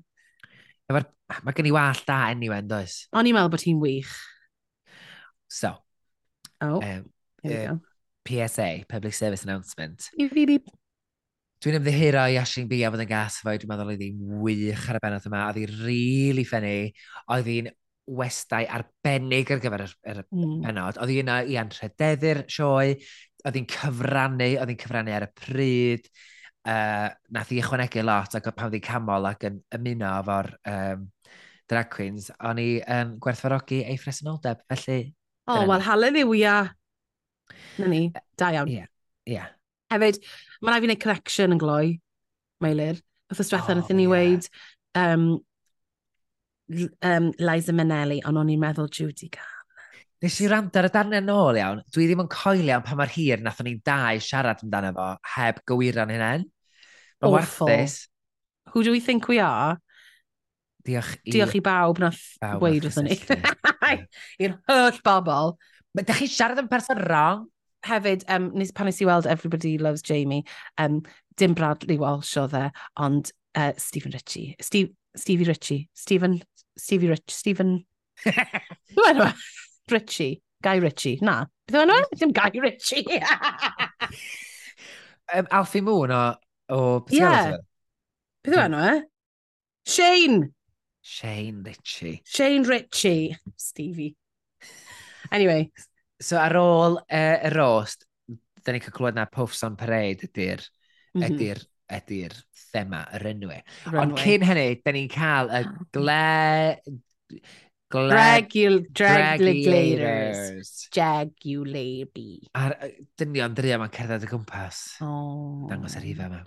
S2: Efo'r... Mae gen i wall da enw yn does.
S1: O'n i'n meddwl bod hi'n wych.
S2: So,
S1: O, oh,
S2: um,
S1: here we go.
S2: PSA, Public Service Announcement.
S1: Beep, beep, beep.
S2: Dwi'n ymddihiro i Ashling B a fod yn gas fo, dwi'n meddwl oedd hi'n wych ar y bennod yma, oedd hi'n rili ffynnu, oedd hi'n westau arbennig ar gyfer yr, yr
S1: Mm.
S2: benod. Oedd hi yna i anrhydeddu'r sioe, oedd hi'n cyfrannu, oedd hi'n cyfrannu ar y pryd. Uh, nath hi ychwanegu lot ac oedd pan oedd hi'n camol ac yn ymuno efo'r um, drag queens, o'n i um, gwerthfarogi ei ffresenoldeb. Felly,
S1: O,
S2: Dyna
S1: wel, Oh, hallelujah. Na ni, da iawn.
S2: Ie. ie. Yeah.
S1: Hefyd, mae rhaid fi wneud correction yn gloi, Meilir. Wrth ystwetha,
S2: O,
S1: oh, nath ni
S2: ie.
S1: weid um, l- um, Liza Minnelli, ond o'n i'n meddwl Judy Garland.
S2: Nes i rand ar y darnau nôl iawn, dwi ddim yn coelio am pa mae'r hir nath o'n i'n dau siarad amdano fo heb gywira'n hynny. Mae'n
S1: Awful.
S2: warthus.
S1: Who do we think we are?
S2: Diolch i...
S1: Diolch i bawb nath
S2: bawb
S1: weid
S2: nath
S1: wrthyn ni.
S2: cysylltu.
S1: I'r holl bobl.
S2: Mae da chi siarad yn person wrong?
S1: hefyd, um, nes, pan nes i weld Everybody Loves Jamie, um, dim Bradley Walsh oedd e, ond uh, Stephen Ritchie. Steve, Stevie Ritchie. Stephen, Stevie Rich, Stephen... Dwi'n enw e? Ritchie. Guy Ritchie. Na. Beth yw enw e? Dim Guy Ritchie. Beth
S2: Um, Alfie Moon o... o
S1: Ie.
S2: yeah.
S1: yw enw e? Shane.
S2: Shane Ritchie.
S1: Shane Ritchie. Stevie. Anyway.
S2: So ar ôl uh, y rost, da ni'n cael clywed na Puffs on Parade ydy'r
S1: mhm,
S2: ydy'r ydy'r thema, yr enwau. Ond
S1: runway. Ah.
S2: cyn hynny, da ni'n cael y gle... Gle...
S1: Dragul- Dragulators.
S2: Dragulators.
S1: Jagulaby.
S2: A'r yy, dynion dri yma'n cerdded y gwmpas.
S1: Oh.
S2: Dangos yr hifa yma.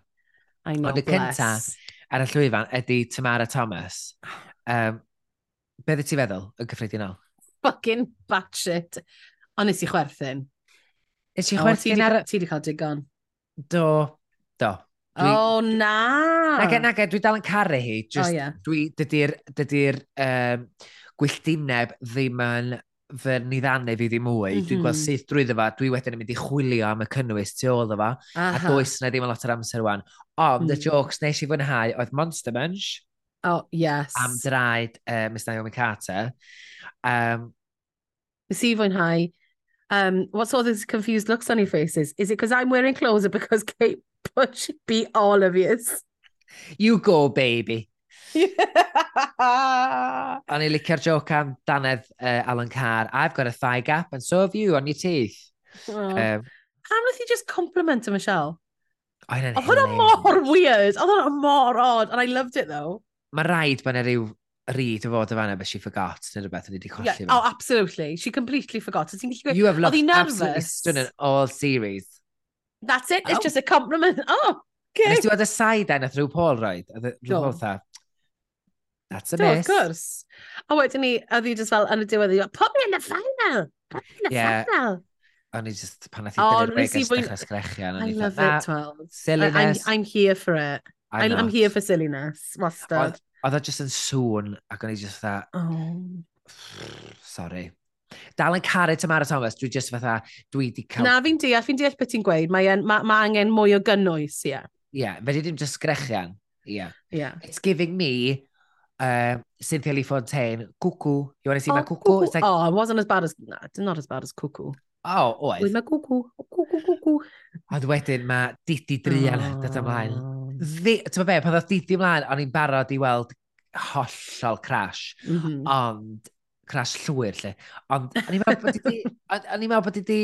S1: I know,
S2: Ond y
S1: bless.
S2: cynta, Ar y llwyfan ydy Tamara Thomas. Um, Be ddy ti feddwl yn cyffredinol?
S1: fucking batshit. Ond nes i chwerthin.
S2: Nes
S1: O,
S2: i
S1: ti
S2: chwerthin
S1: di-
S2: ar... y-
S1: Ti di cael digon.
S2: Do, do. Dwi-
S1: O, na!
S2: Nag e, nag e, dwi dal yn caru hi.
S1: O,
S2: Just,
S1: ie.
S2: dwi, dydy'r dydy um, gwylltineb ddim yn fy niddannu fi ddim mwy. Mm -hmm. Dwi'n
S1: Mhm.
S2: gweld syth drwyddo fa, dwi wedyn yn mynd i chwilio am y cynnwys tu ôl iddo fa, a
S1: Aha.
S2: does na ddim yn lot o'r amser wan. Ond y
S1: Mm.
S2: jokes nes i fwynhau oedd Monster Munch
S1: O, yes.
S2: am draed uh, Miss Naomi Carter. Um,
S1: Nes i fwynhau. Um, what's all these confused looks on your faces? Is it because I'm wearing clothes or because Kate Bush beat all of Oh. yous?
S2: you go, baby.
S1: Yeah.
S2: O'n i licio'r joke am Danedd uh, Alan Carr. I've got a thigh gap and so have you on your teeth.
S1: Oh.
S2: Um,
S1: Pam nath i just compliment a Michelle?
S2: Oedd
S1: Oedd hwnna mor weird. Oedd hwnna mor odd. And I loved it though.
S2: mae rhaid bod yna rhyw ryd o fod o fanna, but she forgot, neu rhywbeth o'n i wedi colli
S1: Yeah.
S2: fe.
S1: Oh, absolutely. She completely forgot. Ti'n gallu gweud,
S2: you have
S1: Oedd
S2: looked
S1: hi'n
S2: absolutely
S1: nervous?
S2: stunning all series.
S1: That's it. It's
S2: Oh.
S1: just a compliment. Oh,
S2: Okay.
S1: okay.
S2: Nes ti weld y side then, oedd rhyw Paul roed, oedd rhyw
S1: Do.
S2: Paul tha, that's a
S1: Do, wrth
S2: miss.
S1: gwrs. A wedyn ni, a ddi just fel yn y diwedd, i fel, put me in the final! Put me in the
S2: Yeah.
S1: final!
S2: O'n i just, pan nath i
S1: O,
S2: dynnu'r
S1: nes
S2: breg
S1: i
S2: yn
S1: fwy-
S2: dechrau
S1: I
S2: sgrechian, o'n i
S1: love
S2: dda,
S1: it, Twelve. I- I'm,
S2: silliness,
S1: I'm here for it. I
S2: I'm
S1: I'm
S2: not."
S1: here for silliness. Wastad.
S2: Oedd o just yn sŵn, ac o'n i just dda,
S1: Oh.
S2: sorry. Dal yn caru Tamara Thomas, dwi just fatha, dwi di cael...
S1: Na, fi'n deall, fi'n deall beth ti'n gweud. Mae en- uh, ma, ma angen mwy o gynnwys, ie.
S2: Ie, yeah, fe di dim just sgrechian. Ie. Yeah.
S1: Ie.
S2: It's giving me um, Cynthia Lee Fontaine, cuckoo. You want to see my
S1: Oh,
S2: cuckoo? It's like, oh,
S1: Oh, it wasn't as bad as... Na, it's not as bad as Cuckoo. With
S2: oedd.
S1: my Cuckoo. Cuckoo, Cuckoo.
S2: Ond wedyn mae Didi Drian oh. dod ymlaen.
S1: Oh.
S2: Ddi- Ti'n gwbod be, pan oedd Didi ymlaen, o'n i'n barod i weld hollol crash.
S1: Mhm.
S2: Oh, Ond, crash llwyr lle. Ond, o'n i'n meddwl bod i di... O'n o'n i'n meddwl bod i di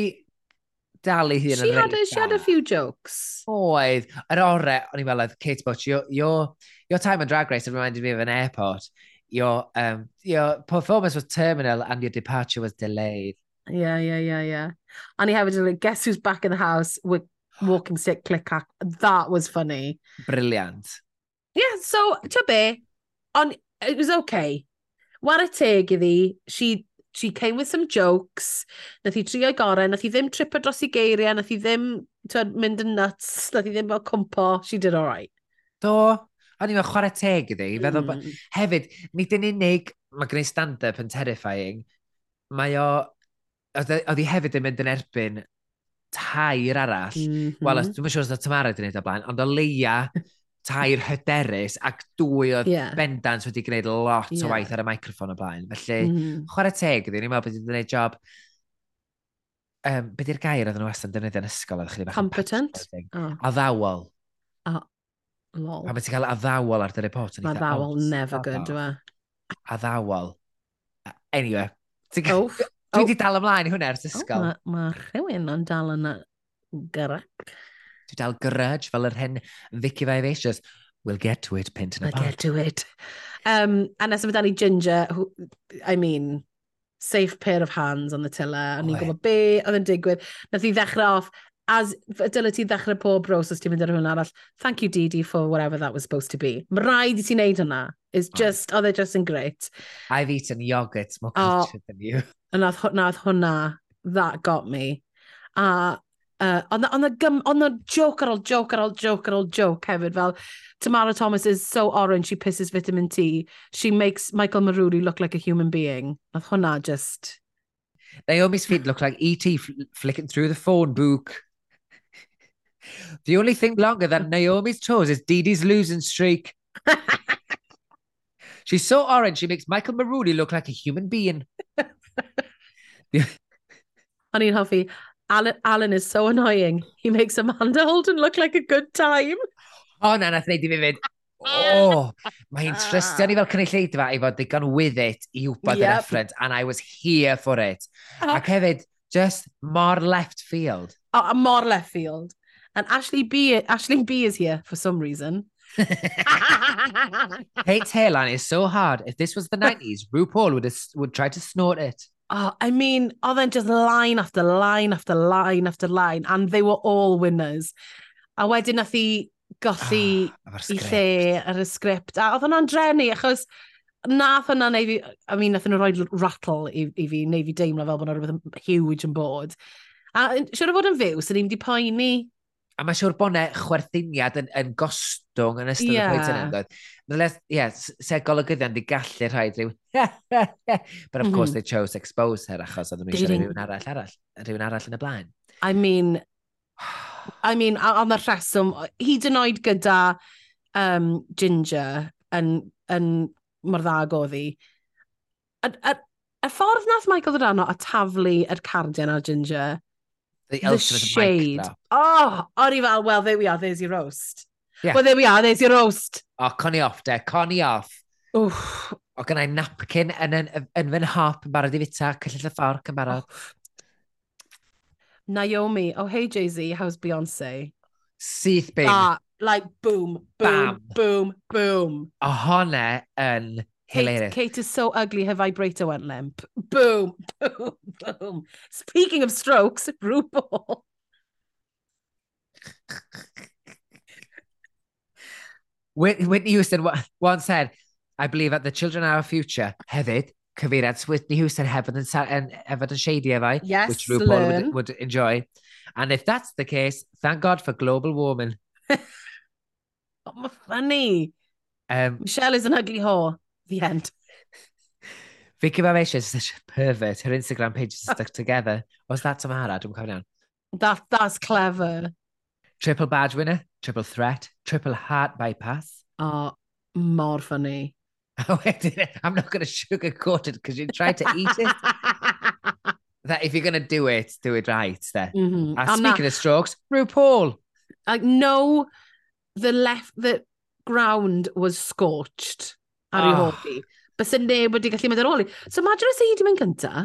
S2: dalu hun
S1: She had a- she had a
S2: da.
S1: few jokes.
S2: Oedd, yr ore, o'n i'n meddwl, oedd, Kate Butch, your, your, your time on Drag Race reminded me of an airport. Your, um, your performance was terminal and your departure was delayed.
S1: Yeah, yeah, yeah, yeah. And he had like, guess who's back in the house with walking stick click clack. That was funny.
S2: Brilliant.
S1: Yeah, so to be on it was okay. What a teg iddi. She she came with some jokes. Nath hi trio ei gorau, nath hi ddim tripo dros ei geiriau, nath hi ddim twed, mynd yn nuts, nath hi ddim fel cwmpo. She did all right.
S2: Do, o'n i'n meddwl
S1: Hmm.
S2: chwarae teg iddi. Mm. Feddwl, bod- hefyd, nid yn unig, mae gen i stand-up yn terrifying, mae o... Oedd e- oedd hi hefyd yn mynd yn erbyn tair arall.
S1: Mm-hmm.
S2: Wel, os- dwi'm yn siŵr os oedd Tamara wedi gwneud o blaen, ond o leia tair hyderus ac dwy oedd
S1: Ie.
S2: bendant wedi gwneud lot
S1: Ie.
S2: o waith ar y microffon o blaen. Felly,
S1: Mhm.
S2: chwarae teg ydyn, ni'n meddwl bod wedi gwneud job... Um, be di'r gair oedden nhw wastad yn defnyddio yn ysgol? oeddech chi bach yn
S1: Competent?
S2: patchworking?
S1: Oh,
S2: Addawol.
S1: lol.
S2: Pan beth ti'n cael addawol ar dy report? yn
S1: Mae
S2: eitha,
S1: ddawel
S2: "O,
S1: never
S2: stop
S1: good,
S2: that."
S1: yw e?
S2: Addawol. A- Anyway, ti'n cael...
S1: Oh,
S2: Dwi
S1: oh.
S2: wedi dal ymlaen i hwnna ers ysgol.
S1: mae ma rhywun yn dal yn gyrrac.
S2: Dwi dal grudge fel yr hen Vicky Vivacious. We'll get to it, pint yn
S1: I
S2: y pod.
S1: get to it. Um, a nes ymwneud ni Ginger, who, I mean, safe pair of hands on the tiller. O'n i'n
S2: Oedd.
S1: gwybod be oedd yn digwydd. Nath i ddechrau off, as f- dyle ti ddechrau pob bros os ti'n mynd ar hwn arall. Thank you, Didi, for whatever that was supposed to be. Mae rhaid i ti wneud hwnna. It's
S2: Oedd.
S1: just, oedd e just yn great.
S2: I've eaten yoghurt more
S1: Oh.
S2: cultured than you.
S1: A nath, hw- nath hwnna, that got me. A uh, ond on gym, on the joke ar ôl joke ar ôl joke ar ôl joke hefyd, fel Tamara Thomas is so orange, she pisses vitamin T. She makes Michael Maruri look like a human being. Nath hwnna just...
S2: Naomi's feet look like E.T. Fl- flicking through the phone book. The only thing longer than Naomi's toes is Dee Dee's losing streak. She's so orange, she makes Michael Maroney look like a human being.
S1: O'n i'n hoffi, Alan, Alan is so annoying. He makes Amanda Holden look like a good time.
S2: O, Oh, na, nath neud i fi fynd. O, mae'n trystio ni fel cynulleidfa i fod digon with it i wybod yep. y
S1: Ah. Yep.
S2: reference, and I was here for it.
S1: Oh.
S2: Ac hefyd, just more left field.
S1: Oh, a mor left field. And Ashley B, Ashley B is here for some reason.
S2: Kate's hairline is so hard. If this was the 90s, RuPaul would, have, would try to snort it.
S1: Oh, I mean, oedd e'n just line after line after line after line, and they were all winners. A wedyn nath i golli
S2: Ah,
S1: i lle
S2: efo'r sgript.
S1: ar y sgript. A oedd hwnna'n drenu, achos nath hwnna neu fi... I mean, nath nhw roi rattle i, i fi, neu fi deimlo fel bod yna rhywbeth huge yn bod. A yn- siŵr o fod yn fyw, so ni'n mynd i poeni.
S2: A mae siŵr bod yna chwerthiniad yn, yn gostwng yn ystod
S1: Ie.
S2: y pwynt yna. doedd? Unless- Ie, s- se golygyddion di gallu rhaid rhyw... But of course
S1: Mhm.
S2: they chose to expose her achos oedden nhw
S1: They
S2: eisiau rhoi
S1: didn't.
S2: rhywun arall, arall, rhywun arall yn y blaen.
S1: I mean, I mean, a- am y rheswm, hyd yn oed gyda um, Ginger yn, yn mor dda ag oedd hi, y, y, y ffordd nath Michael Ddorano a taflu yr cardian ar Ginger,
S2: The,
S1: the
S2: ultimate mic
S1: shade.
S2: drop.
S1: Oh, o'n i fel, well, there we are, there's your roast.
S2: Ie.
S1: Well, there we are, there's your roast.
S2: O, coni Oh, off de, coni off.
S1: Wff,
S2: O gynnau napkin yn, yn, yn fy nhop yn barod i fita, cyllill y fforc yn barod.
S1: Oh. Naomi, oh hey Jay-Z, how's Beyonce?
S2: Syth bin.
S1: Ah, like boom, boom,
S2: Bam.
S1: boom, boom.
S2: Ohone yn
S1: Kate,
S2: hilarious.
S1: Kate is so ugly, her vibrator went limp. Boom, boom, boom. Speaking of strokes, RuPaul.
S2: Whit- Whitney Houston wa- once said, I believe that the children are our future. Hefyd, cyfeiriad Whitney Houston hefyd yn, sa- yn, hefyd yn shady efo,
S1: Yes,
S2: which RuPaul
S1: learn.
S2: would, would enjoy. And if that's the case, thank God for global warming.
S1: Oh, ma' funny.
S2: Um,
S1: Michelle is an ugly whore. The end.
S2: Vicky Bavacia is such a pervert. Her Instagram page is stuck together. Was that Tamara? Dwi'n cofio iawn.
S1: That, that's clever.
S2: Triple badge winner, triple threat, triple heart bypass. Oh,
S1: Oh, mor funny.
S2: A wedyn, I'm not going to sugarcoat it because you tried to eat it. that if you're going to do it, do it right there.
S1: Mhm.
S2: And
S1: A na-
S2: speaking of strokes, RuPaul.
S1: like no the left the ground was scorched ar ei
S2: Oh.
S1: hoff i. Bys y neb wedi gallu mynd ar ôl i. So imagine os ei hi di mynd cynta.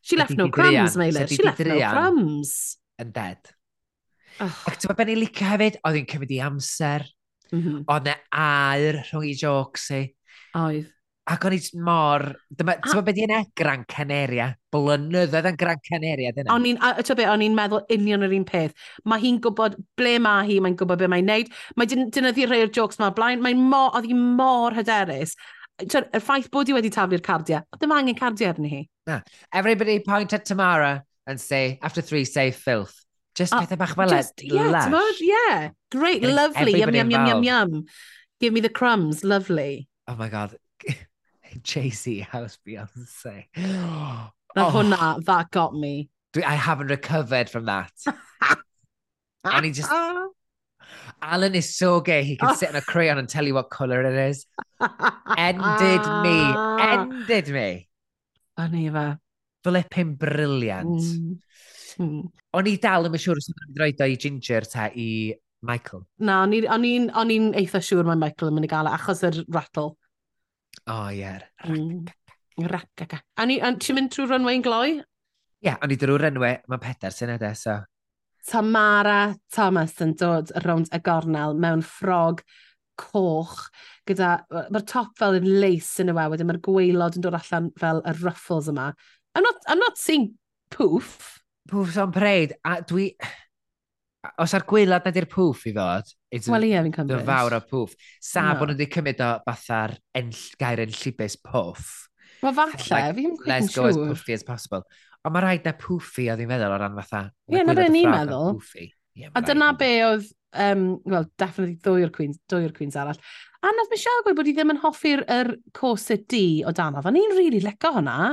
S1: She
S2: Sa
S1: left
S2: di
S1: no
S2: di
S1: crumbs,
S2: druan? Sa
S1: Meilir.
S2: di
S1: She
S2: di
S1: left no
S2: druan?
S1: crumbs.
S2: yn dead.
S1: Oh,
S2: Ac ti'n meddwl ni'n licio hefyd, oedd hi'n cymryd i amser,
S1: mhm.
S2: oedd ne air rhwng i jocs i.
S1: Oedd.
S2: Ac o'n i jyst mor, ti'n meddwl beth i'n e? Gran Canaria. Blynyddoedd yn Gran Canaria, dyna.
S1: O'n i'n, a- a t'wod be, o'n i'n meddwl union yr un peth. Mae hi'n gwybod ble mae hi, mae'n gwybod be mae'n neud. Mae dyn- dynyddu rhai o'r jokes ma'r blaen, mae'n mor, oedd hi mor hyderus. T'wod, y ffaith bod hi wedi taflu'r cardiau, oedd ddim angen cardiau arni hi.
S2: Everybody point at Tamara and say, after three, say filth. Just
S1: Oh,
S2: pethau bach fel
S1: Just, yeah,
S2: lush.
S1: tomorrow- yeah. Great,
S2: Getting
S1: lovely. Yum,
S2: everybody
S1: yum, yum, yum,
S2: involved.
S1: yum. Give me the crumbs, lovely.
S2: Oh my god. JC House Beyonce.
S1: That,
S2: Oh.
S1: oh. that, that got me.
S2: Dude, I haven't recovered from that. And he just-
S1: Ah.
S2: Alan is so gay. He can sit in a crayon and tell you what color it is. Ended me.
S1: Ah.
S2: Ended me.
S1: Funny fe.
S2: Flipping brilliant.
S1: Mm. Mm.
S2: O'n i dal ddim yn siŵr os o'n i'n rhaid o i Ginger ta i Michael.
S1: Na, o'n i- o'n i'n o'n i'n eitha siŵr mae Michael yn mynd i gael e, achos yr rattle.
S2: O, oh, ie. Yeah.
S1: Mm. Racaca. A ni, a ti'n mynd trwy runway yn gloi?
S2: Ie, yeah, o'n i drwy'r enwau, mae Peter sy'n edrych, so.
S1: Tamara Thomas yn dod rownd y gornel mewn ffrog coch gyda, mae'r top fel yn leis yn y we, wedyn mae'r gweilod yn dod allan fel y ruffles yma. I'm not, I'm not seeing poof.
S2: Pwff son preid, a dwi... Os ar gwylad na di'r pwff i ddod, it's
S1: Wel ie, fi'n
S2: the
S1: cymryd.
S2: fawr o pwff. Sa
S1: Na.
S2: bod nhw wedi cymryd o batha'r enll, gair enllibus pwff.
S1: Mae falle,
S2: Like,
S1: fi ddim quite yn
S2: Let's go as
S1: siŵr.
S2: poofy as possible. Ond mae rhaid na poofy oedd i'n meddwl o ran fatha.
S1: Ie, na
S2: gwylod
S1: be
S2: y
S1: ni'n
S2: ffrog yn
S1: meddwl.
S2: poofy. Ie, ma'
S1: A dyna
S2: raid.
S1: be oedd, um, wel, definitely ddwy o'r Queens, ddwy o'r Queens arall. A nath Michelle gweud bod hi ddim yn hoffi'r er corset D o dan Fan ni'n really leco hwnna.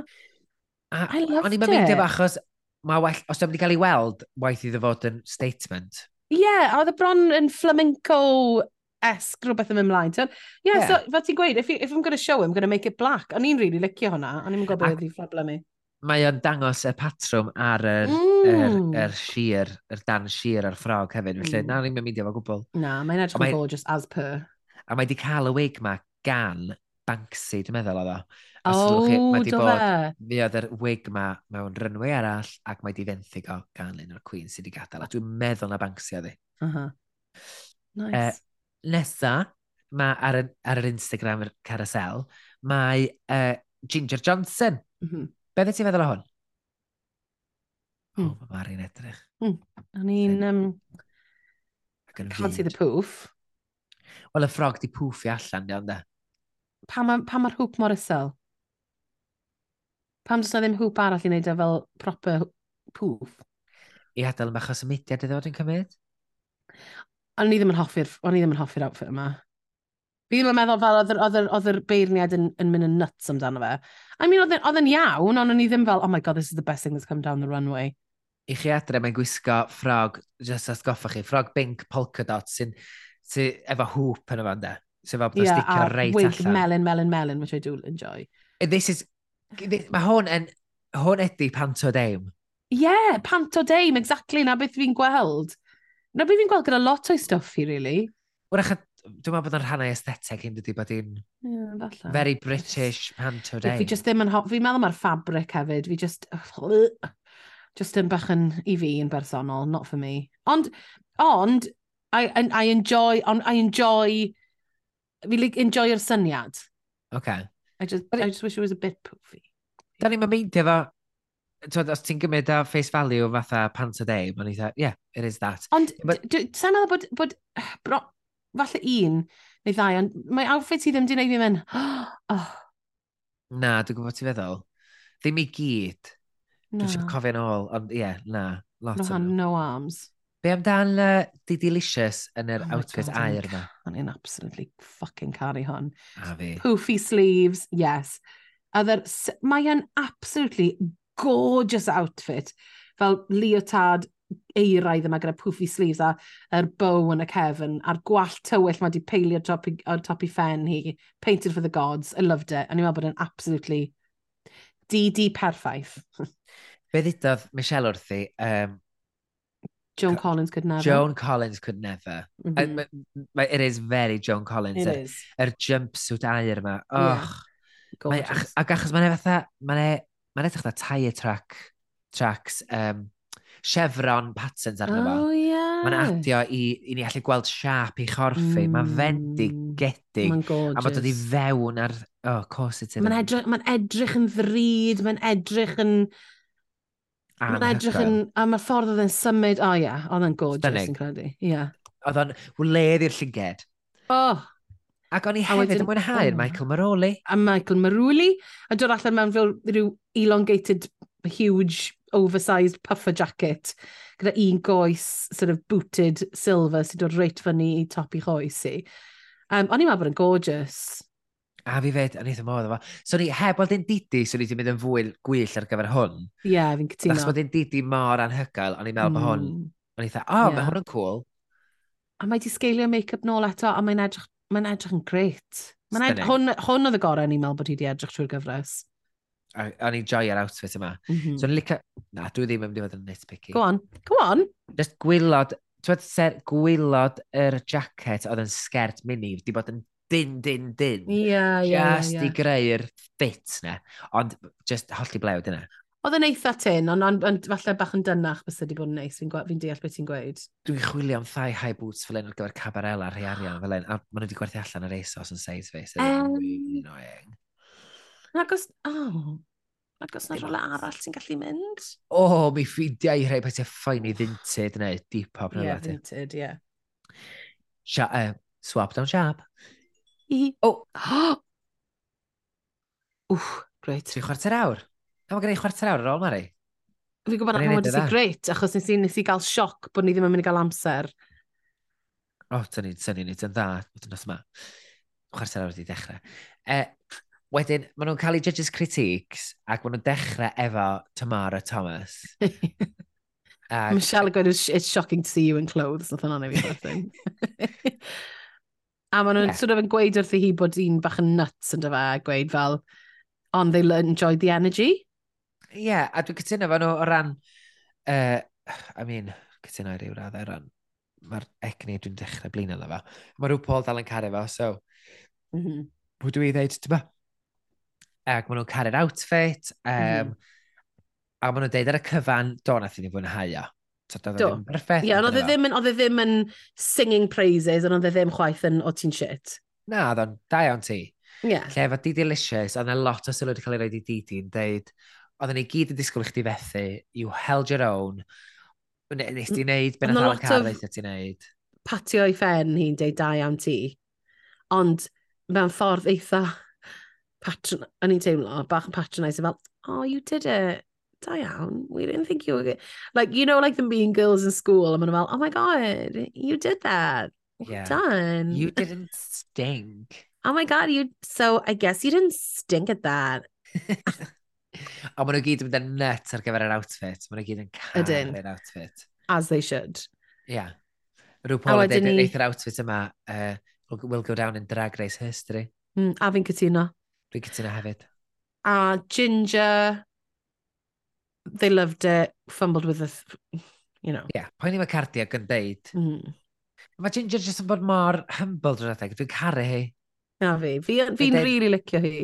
S2: A-
S1: I loved
S2: O'n i'n mynd
S1: it.
S2: efo achos, mae well, os dwi'n mynd i gael ei weld, waith iddo fod yn statement.
S1: Ie, yeah, a oedd y bron yn flamenco-esg rhywbeth yn mynd mlaen. Ie, yeah,
S2: Ie.
S1: so fel ti'n gweud, if, you- if I'm going to show him, I'm going to make it black. O'n i'n really licio hwnna, o'n i'n
S2: Ac-
S1: gwybod beth i phobl mi.
S2: Mae o'n dangos y patrwm ar yr, yr,
S1: Mm.
S2: yr sheer, yr dan sheer a'r ffrog hefyd. Felly,
S1: Mm.
S2: na, ni'n mynd efo gwbl.
S1: Na, mae'n edrych
S2: Mae-
S1: yn gorgeous as per.
S2: A mae wedi cael y wig ma gan Banksy, dwi'n meddwl oedd o. A
S1: O,
S2: sylwch chi, mae 'di
S1: do
S2: bod-
S1: fe.
S2: Mi oedd yr wig ma mewn rynwy arall ac mae wedi fenthyg o gan un o'r Queen sydd wedi gadael. A dwi'n meddwl na Banksy oedd e. hi.
S1: Aha. Uh-huh. Nice.
S2: Eh, Nesa, mae ar, y- ar yr Instagram yr carousel, mae uh, Ginger Johnson.
S1: Mhm.
S2: Be dde ti'n feddwl o hwn? O,
S1: Hmm.
S2: mae Mari'n edrych.
S1: O'n i'n um,
S2: Ac yn
S1: fancy the
S2: fyd.
S1: poof.
S2: Wel, y ffrog di pwffi allan, iawn de.
S1: Pam ma- pam mae'r hŵp mor isel? Pam does na ddim hŵp arall i wneud o fel proper poof?
S2: I adael yma achos y mudiad iddo fod yn cymryd.
S1: O'n i ddim yn hoffi'r, o'n i ddim yn hoffi'r outfit yma. Fi ddim yn meddwl fel oedd yr- oedd yr- oedd yr beirniad yn, yn mynd yn nuts amdano fe. I mean, oedd e'n- oedd yn iawn, ond o'n i ddim fel, oh my god, this is the best thing that's come down the runway.
S2: I chi adre, mae'n gwisgo ffrog, just as goffa chi, ffrog binc polka dot sy'n sy efo hŵp yn y fan de. Sy'n efo
S1: Ie,
S2: plasticio
S1: a
S2: e reit
S1: wig
S2: allan.
S1: melon, melon, melon, which I do enjoy.
S2: This is... thi- Mae hwn yn... Hwn ydi pantodeim.
S1: Yeah, panto dame, exactly, na beth fi'n gweld. Na beth fi'n gweld gyda lot o'i stuff i, really.
S2: Wrach, dwi'n meddwl bod o'n rhannau aesthetic hyn dydy bod hi'n
S1: Yeah, falle.
S2: very British pantodeim.
S1: Fi just ddim yn hoffi, fi'n meddwl mae'r ffabric hefyd, fi just, just yn bach yn, i fi yn bersonol, not for me. Ond, ond, I, I, I enjoy, on, I enjoy, fi like, enjoy'r syniad.
S2: Okay.
S1: I just,
S2: But it-
S1: I just wish it was a bit poofy.
S2: Da ni'n mynd efo... Twod, os ti'n gymryd a face value fatha pantodeim, o'n i dda, yeah, it is that.
S1: Ond,
S2: But-
S1: sa'n meddwl bod, bod, bro, falle un, neu ddau, ond mae outfit i ddim di wneud fi mynd, oh,
S2: Na, dwi'n gwybod ti'n feddwl. Ddim i gyd. Dwi'n siarad
S1: na,
S2: cofio yn ôl, ond ie, yeah, na. Lot
S1: no,
S2: o nhw.
S1: no arms.
S2: Be amdan uh, di Delicious yn
S1: Oh
S2: yr
S1: my
S2: outfit
S1: God,
S2: air
S1: I'm-
S2: na?
S1: O'n i'n absolutely fucking caru hon.
S2: A fi.
S1: poofy sleeves, yes. Other, mae yn absolutely gorgeous outfit. Fel leotard eiraidd yma gyda poofy sleeves a yr bow yn y cefn a'r gwallt tywyll mae wedi peilio top i, o'r top i ffen hi. Painted for the gods. I loved it. A ni'n meddwl bod yn absolutely DD perffaith.
S2: Be ddudodd Michelle wrthi, um,
S1: Joan Collins could never.
S2: Joan Collins could never.
S1: Mhm.
S2: Mm -hmm. It is very Joan Collins.
S1: It
S2: Yr
S1: is.
S2: er jumpsuit air yma.
S1: Ie,
S2: Och, mae, ach,
S1: Gorgeous.
S2: ac achos mae'n fatha, mae'n mae'n edrych fatha tire track, tracks, um, chevron patterns arno fo.
S1: Oh, yeah.
S2: Mae'n adio i, i ni allu gweld siap i chorffi. Mm. Mae'n
S1: Mm.
S2: fendigedig.
S1: Mae'n gorgeous.
S2: A mae dod i fewn ar... O, oh, corset
S1: Mae'n edrych, mae'n edrych yn ddrud, mae'n edrych yn... Mae'n edrych yn... A mae'r ffordd oedd yn symud... O oh, ie, yeah, oedd yn gorgeous
S2: Stunning.
S1: yn credu. Ie. Yeah.
S2: Oedd o'n wledd i'r llyged.
S1: Oh,
S2: Ac o'n i
S1: A
S2: hefyd
S1: wedyn-
S2: yn mwynhau'r
S1: o.
S2: Michael Maroli.
S1: a
S2: a
S1: Michael Maruli yn dod allan mewn fel rhyw elongated, huge, oversized puffer jacket gyda un goes, sort of booted silver sy'n dod reit fyny i top i choes i. Um, o'n i'n meddwl bod yn gorgeous.
S2: A fi fed, o'n i ddim oedd efo. So ni heb weld yn didi, so ni wedi mynd yn fwy gwyll ar gyfer hwn.
S1: Ie, fi'n cytuno.
S2: Achos bod yn didi mor anhygoel, o'n i'n meddwl bod hwn.
S1: Mm.
S2: O'n i'n dweud, o,
S1: Ie.
S2: mae hwn yn cool.
S1: A mae di sgeilio make-up nôl eto, a mae'n edrych, mae'n edrych yn gret. Mae'n edrych, hwn,
S2: Stunning.
S1: hwn oedd y gorau ni'n meddwl bod hi wedi edrych trwy'r gyfres.
S2: A- O'n i'n joio'r outfit yma.
S1: Mhm.
S2: So o'n i'n licio... Na, dwi ddim yn mynd i fod yn nitpicky.
S1: Go on, go on.
S2: Just gwylod, ti'n ser gwylod yr jacket oedd yn sgert mini, di bod yn din, din, din.
S1: Ie, ie,
S2: just
S1: ie.
S2: i greu'r fit na. Ond just holli blewd yna.
S1: Oedd yn eitha tyn, ond on, on, falle bach yn dynach bys wedi bod yn neis. Fi'n fi deall beth ti'n gweud.
S2: Dwi'n chwilio am thai high boots fel un ar gyfer cabarela rhai arian fel un. A maen nhw wedi gwerthu allan yr ASOS yn seis fe. So
S1: Yym.
S2: um, really annoying.
S1: Ac os... Oh. Ac os na
S2: Dim
S1: rola
S2: ots.
S1: arall sy'n gallu mynd?
S2: O, oh, mi ffidiau i rhai pethau ffain i vinted neu deep pop neu
S1: Ie,
S2: yeah,
S1: vinted, ie.
S2: Sha, uh, swap down shop.
S1: Hi.
S2: O.
S1: Wff, greit.
S2: Tri chwarter awr. Na, mae gen i chwarter awr ar ôl, Mari.
S1: Fi'n gwybod
S2: O'n
S1: na
S2: i'n
S1: hwn
S2: neud e
S1: wedi
S2: hynna.
S1: greit, achos nes i, nes i gael sioc bod ni ddim yn mynd i gael amser.
S2: O, oh, dyn ni'n syni ni, dyn dda, dyn nos yma. Chwarter awr wedi dechrau. Uh, wedyn, maen nhw'n cael eu judges critiques ac maen nhw'n dechrau efo Tamara Thomas. Ac
S1: Michelle yn gweud, it's it's shocking to see you in clothes, nothing on every person. A maen nhw'n
S2: Ie.
S1: sort of yn gweud wrth i hi bod un bach yn nuts yn dyfa, a gweud fel, on they le- enjoyed the energy.
S2: Ie, yeah, a dwi'n cytuno fan nhw o ran... Uh, I mean, cytuno i ryw raddau o ran... Mae'r egni dwi'n dechrau blin yna fo. Mae rhyw Paul dal yn caru fo, so... Pwy dwi i ddeud, ti'n ba? Ac maen nhw'n caru'r outfit. Um,
S1: Mhm.
S2: A maen nhw'n deud ar y cyfan, do nath i ni fwynhau o. So doedd
S1: Do.
S2: o ddim berffaith.
S1: Ie, ond oedd e ddim yn- oedd e ddim yn singing praises, ond oedd e ddim chwaith yn o ti'n shit.
S2: Na, oedd o'n da iawn ti.
S1: Ie.
S2: Lle efo Didi Licious, oedd yna lot o sylw wedi cael ei roed i Didi yn deud, oedden ni gyd yn disgwyl i chdi fethu, you held your own, Ne- nes di wneud, ben
S1: Oedd 'na
S2: oedd
S1: lot
S2: o'n cael
S1: of-
S2: ddeitha ti wneud.
S1: patio i ffen hi'n deud da iawn ti. Ond mewn ffordd eitha patron, o'n i'n teimlo, bach yn patronise, fel, oh, you did it. Da iawn. We didn't think you were good. Like, you know, like the mean girls in school, I'm fel, oh my god, you did that. Well
S2: Yeah.
S1: done.
S2: You didn't stink.
S1: Oh my god, you, so I guess you didn't stink at that.
S2: A maen nhw gyd yn mynd yn nut ar gyfer yr outfit. Maen nhw gyd yn
S1: Ydyn.
S2: cael yr outfit.
S1: As they should.
S2: Ie. Yeah. Rwy'n Paul yn
S1: wedyn
S2: dweud
S1: ni-
S2: eithaf outfit yma uh, will will go down in drag race history.
S1: Mm, a fi'n cytuno.
S2: Dwi'n gytuno hefyd.
S1: A Ginger, they loved it, fumbled with the, th- you know.
S2: Ie, yeah. poen i mae Cardiog yn deud.
S1: Mm.
S2: Mae Ginger jyst yn bod mor humble drwy'r adeg. Dwi'n caru hi.
S1: Na fi, fi'n fi
S2: Wedyn-
S1: rili licio hi.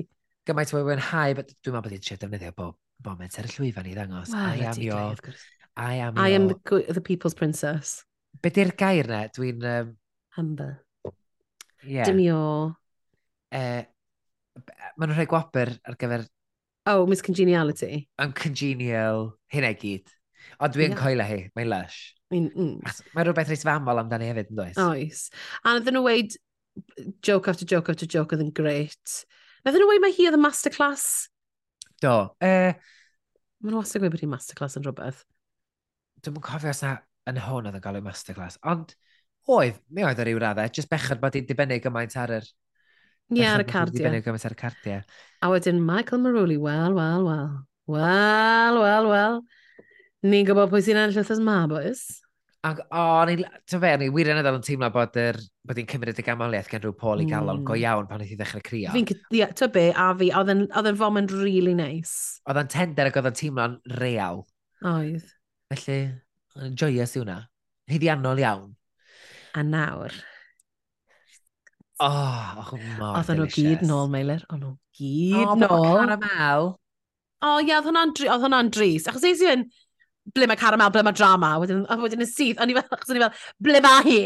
S2: Gymaint o'i wynhau, but dwi'n meddwl bod hi'n siarad defnyddio bob moment ar y llwyfan i ddangos. I am your... I am
S1: I am the,
S2: your...
S1: gw- the people's princess.
S2: Be di'r gair na? Dwi'n... Um,
S1: Humble.
S2: yeah.
S1: Yeah. Demure.
S2: Uh, Mae nhw'n rhoi gwobr ar gyfer
S1: Oh, Miss Congeniality.
S2: I'm congenial, hyn e gyd. Ond dwi'n
S1: Ie.
S2: coelio hi, mae'n lush.
S1: Mm, mm.
S2: Achos Mae rhywbeth reis famol amdani hefyd yn does?
S1: Oes. A oedden nhw weid joke after joke after joke oedd yn great. Oedden nhw weid mae hi oedd y masterclass.
S2: Do. Uh,
S1: Mae nhw wastad yn gweud bod hi'n masterclass yn rhywbeth.
S2: dwi'n mwyn cofio os na yn hwn oedd yn gael ei masterclass. Ond oedd, mi oedd o ryw raddau, jyst bechod bod hi'n dibynnu gymaint ar yr...
S1: Ie, ar y
S2: bechod bod hi'n
S1: cardiau.
S2: Dibynnu gymaint ar y cardiau.
S1: A wedyn Michael Maruli, wel, wel, wel. Wel, wel, wel. Ni'n gwybod pwy sy'n ennill wrth ma, boys.
S2: Ac o, ni, ti'n fe, ni wirioneddol yn teimlo bod, yr, bod hi'n cymryd y gamoliaeth gen rhyw Paul i galon
S1: Mm.
S2: go iawn pan oedd hi ddechrau crio.
S1: Fi'n, cy- ie, ti'n be, a fi, oedd yn- oedd yn foment really nice.
S2: Oedd o'n tender ac oedd o'n teimlo'n real.
S1: Oedd.
S2: Felly, yn joyous i hwnna. Hyddiannol iawn.
S1: A nawr,
S2: O, oh, mor
S1: oedd nhw gyd nôl, Meilir. Oedd nhw
S2: O,
S1: gyd
S2: bod y
S1: nôl.
S2: Caramel.
S1: O oh, ie, oedd hwnna'n dri- oedd hwnna'n dris. Achos eisi yn, ble mae caramel, ble mae drama. Wedyn, a wedyn yn syth, o'n i fel, achos o'n i fel, ble mae hi?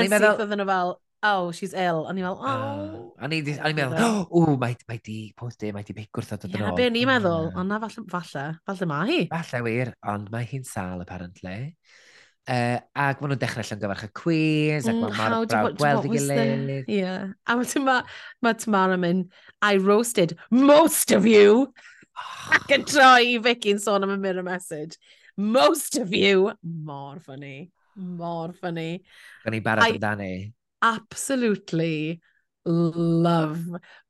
S1: A
S2: i'n
S1: yn
S2: meddwl-
S1: syth oedd nhw fel, oh, she's ill. O'n i fel, oh.
S2: A ni di- o'n i'n meddwl,
S1: Diddorol.
S2: o, mae mae di pwydy, mae di bigwrth o dod
S1: Ie,
S2: yn
S1: na
S2: ôl.
S1: be o'n i'n meddwl,
S2: Mm.
S1: ond na falle, falle, falle mae hi.
S2: Falle wir, ond mae hi'n sal, apparently. Uh, ac maen nhw'n dechrau allan gyfarch y cwiz, ac
S1: Mm,
S2: maen
S1: how
S2: mor
S1: do-
S2: brawd
S1: what- what
S2: gweld i
S1: was the-
S2: gilydd.
S1: Ie. A mae Tamara, mae Tamara mynd, I roasted most of you. Ac yn troi i Vicky'n sôn am y mirror message. Most of you. Mor funny. Mor funny.
S2: Gan i
S1: I-
S2: barod amdani.
S1: Absolutely love.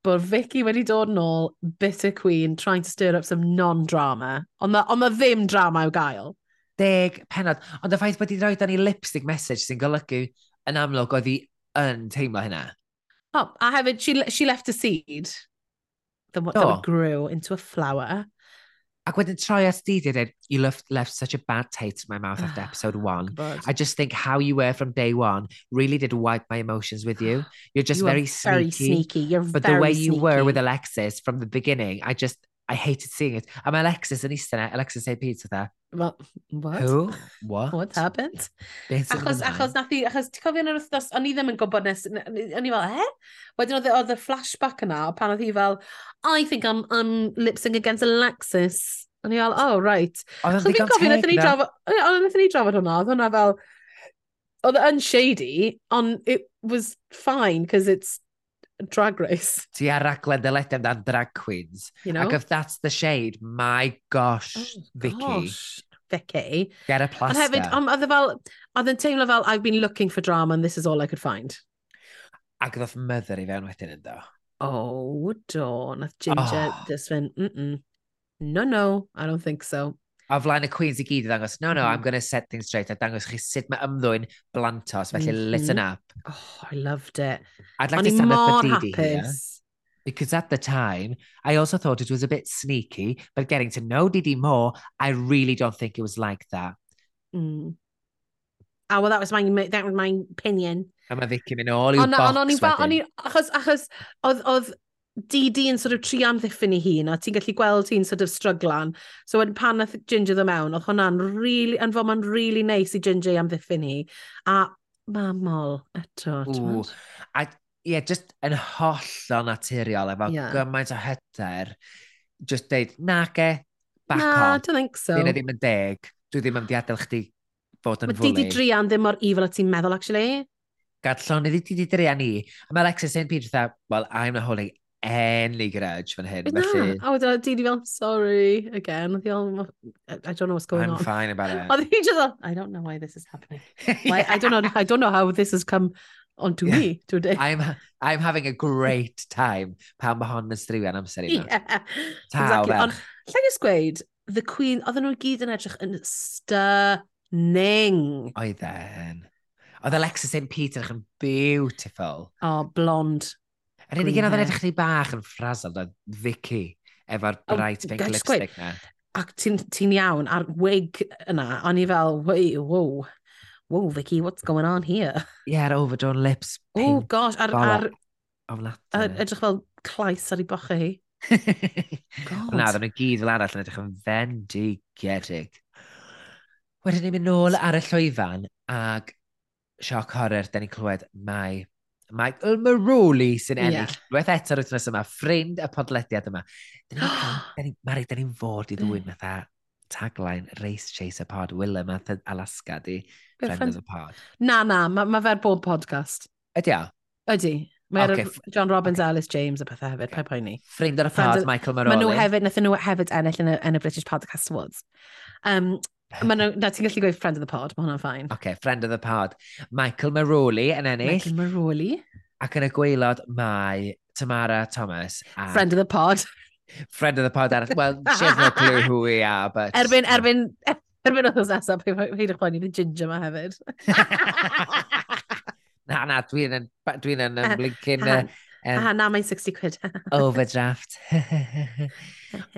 S1: But Vicky, when he done all, bitter queen, trying to stir up some non-drama on the on the ddim drama o gael.
S2: deg penod. Ond y ffaith bod hi'n rhoi dan i lipstick message sy'n golygu yn amlwg oedd hi yn teimlo hynna.
S1: Oh, I have it. She le- she left a seed. Then what? Then
S2: Oh.
S1: it grew into a flower.
S2: Ac wedyn troi at di di dweud, you left, left such a bad taste in my mouth
S1: Ah.
S2: after episode one.
S1: But
S2: I just think how you were from day one really did wipe my emotions with you. You're just
S1: you are
S2: very, sneaky,
S1: very sneaky. You're
S2: But
S1: very
S2: the way you were with
S1: sneaky.
S2: Alexis from the beginning, I just, I hated seeing it. I'm Alexis yn eistedd yna, Alexis a pizza there.
S1: Well, what?
S2: Who? What?
S1: What's happened?
S2: Beth yn
S1: Achos,
S2: mynd
S1: achos
S2: ymlaen?
S1: nath i, achos ti'n cofio yn yr wythnos, o'n i ddim yn gwybod nes, n- n- o'n i fel, eh? Wedyn oedd y- oedd y flashback yna, o pan oedd hi fel, I think I'm, I'm lip-sync against Alexis. O'n i fel, oh, right.
S2: Oedd
S1: Achos
S2: o'n
S1: fi'n
S2: ddigon
S1: cofio,
S2: teg
S1: nath ni
S2: na.
S1: drafod, o'n o'n- nathon ni drafod hwnna, oedd hwnna fel, oedd yn shady, ond it was fine, because it's drag race,
S2: Ti ar raglen dyled amdan drag queens.
S1: you know? Oh
S2: Ac if that's the shade, my gosh, Vicky,
S1: Gosh, Vicky.
S2: get a
S1: Ond
S2: plaster.
S1: hefyd, um, oedd e fel, oedd yn teimlo fel, I've been looking for drama and this is all I could find.
S2: Ac ddoth mother i fewn wedyn ynddo.
S1: Oh, do. Nath Ginger
S2: Oh.
S1: just went, mm-mm. No, no, I don't think so.
S2: A flaen y Queens i gyd i ddangos, no, no,
S1: Mhm.
S2: I'm going to set things straight. A dangos chi sut mae ymddwyn blantos, felly
S1: Mhm.
S2: listen up.
S1: Oh, I loved it.
S2: I'd like
S1: O'n
S2: to
S1: i
S2: stand up
S1: mor
S2: for Didi here.
S1: hapus.
S2: Because at the time, I also thought it was a bit sneaky, but getting to know Didi more, I really don't think it was like that.
S1: Mm. Oh, well, that was my that was my opinion.
S2: A mae Vicky mynd all i'w
S1: Ond
S2: box
S1: on, o'n i fel,
S2: wedyn.
S1: o'n i, achos, achos, oedd, oedd Didi yn sort of tri amddiffyn ei hun, a ti'n gallu gweld hi'n sort of stryglan. So when pan nath Ginger ddo mewn, oedd hwnna'n really, yn fo ma'n really neis i Ginger i amddiffyn hi. A mamol eto, ti'n
S2: Ww.
S1: gwbod?
S2: A ie, just yn hollol naturiol efo
S1: Ie.
S2: gymaint o hyder. Just deud, nag e, back
S1: Na,
S2: off.
S1: don't think so.
S2: Dyn e ddim yn deg. Dwi ddim yn mynd i adael chdi fod yn
S1: Mae Didi
S2: fwli.
S1: Drian ddim mor evil a ti'n meddwl, actually.
S2: Gadlon iddi ti di drea ni. A mae Alexis St. Peter dda, well, I'm not holding any grudge fan hyn.
S1: Na,
S2: Felly,
S1: a wedyn oedd Didi fel, sorry, again. Oedd hi fel, I I don't know what's going
S2: I'm
S1: on.
S2: fine about it.
S1: Oedd hi just fel, I don't know why this is happening. Why, I don't know, I don't know how this has come onto
S2: Yeah.
S1: me today.
S2: I'm, I'm having a great time pan mae hon yn striwian amser i mewn.
S1: yeah.
S2: Taw,
S1: exactly. Ond, lle jyst gweud, The Queen, oedden nhw i gyd yn edrych yn stunning.
S2: Oedd e'n. Oedd Alexis St. Peter yn beautiful.
S1: Oh, blonde.
S2: Yr unig
S1: Green
S2: un oedd yn
S1: hair.
S2: edrych ni bach yn ffrasol, oedd Vicky, efo'r
S1: O,
S2: bright pink
S1: that's great.
S2: lipstick na.
S1: Ac ti'n ti'n iawn, a'r wig yna, o'n i fel, wait, whoa, whoa, Vicky, what's going on here?
S2: Ie, yeah, overdrawn lips,
S1: Oh
S2: pink,
S1: gosh, ar, ar,
S2: bollock,
S1: ar
S2: ofnadwy.
S1: edrych fel claes ar ei bochau hi. God.
S2: Na, oedden nhw gyd fel arall yn edrych yn fendigedig. Wedyn ni'n mynd nôl ar y llwyfan, ag sioc horror, da ni'n clywed mae Michael Maroli sy'n
S1: Ie.
S2: ennill. Rwyth eto rwy'n nes yma, ffrind y podlediad yma. Dyn ni'n cael- dyn ni- Mari, da ni'n fod i ddwyn fatha tagline Race Chaser Pod, Willem a Th- Alaska di
S1: Good
S2: friend
S1: friend.
S2: of the pod.
S1: Na, na, mae ma fe'r bob podcast.
S2: Ydy o,
S1: Ydy. Mae'r
S2: Ocê, f-
S1: John Robbins, Alice James a pethau hefyd,
S2: Ocê.
S1: okay. pa poeni.
S2: ffrind ar y
S1: Friend
S2: pod,
S1: of-
S2: Michael
S1: Maen
S2: Maroli.
S1: nhw hefyd, nath nhw hefyd ennill yn y, yn y British Podcast Awards. Um, ma nhw, na, ti'n gallu gweud friend of the pod, mae hwnna'n ffain.
S2: OK, friend of the pod. Michael Maroli yn ennill,
S1: Michael Maroli,
S2: ac yn y gweilod mae Tamara Thomas. A friend.
S1: friend of the pod.
S2: of the pod arall. Well, she has no clue who we are, but...
S1: Erbyn, erbyn, erbyn oedd nesaf, peidiwch poeni, fydd Ginger ma hefyd.
S2: na, na, dwi'n yn, dwi yn
S1: Ah,
S2: ymlinkin
S1: Ah,
S2: uh, um,
S1: ah, na, mae'n 60 quid.
S2: overdraft.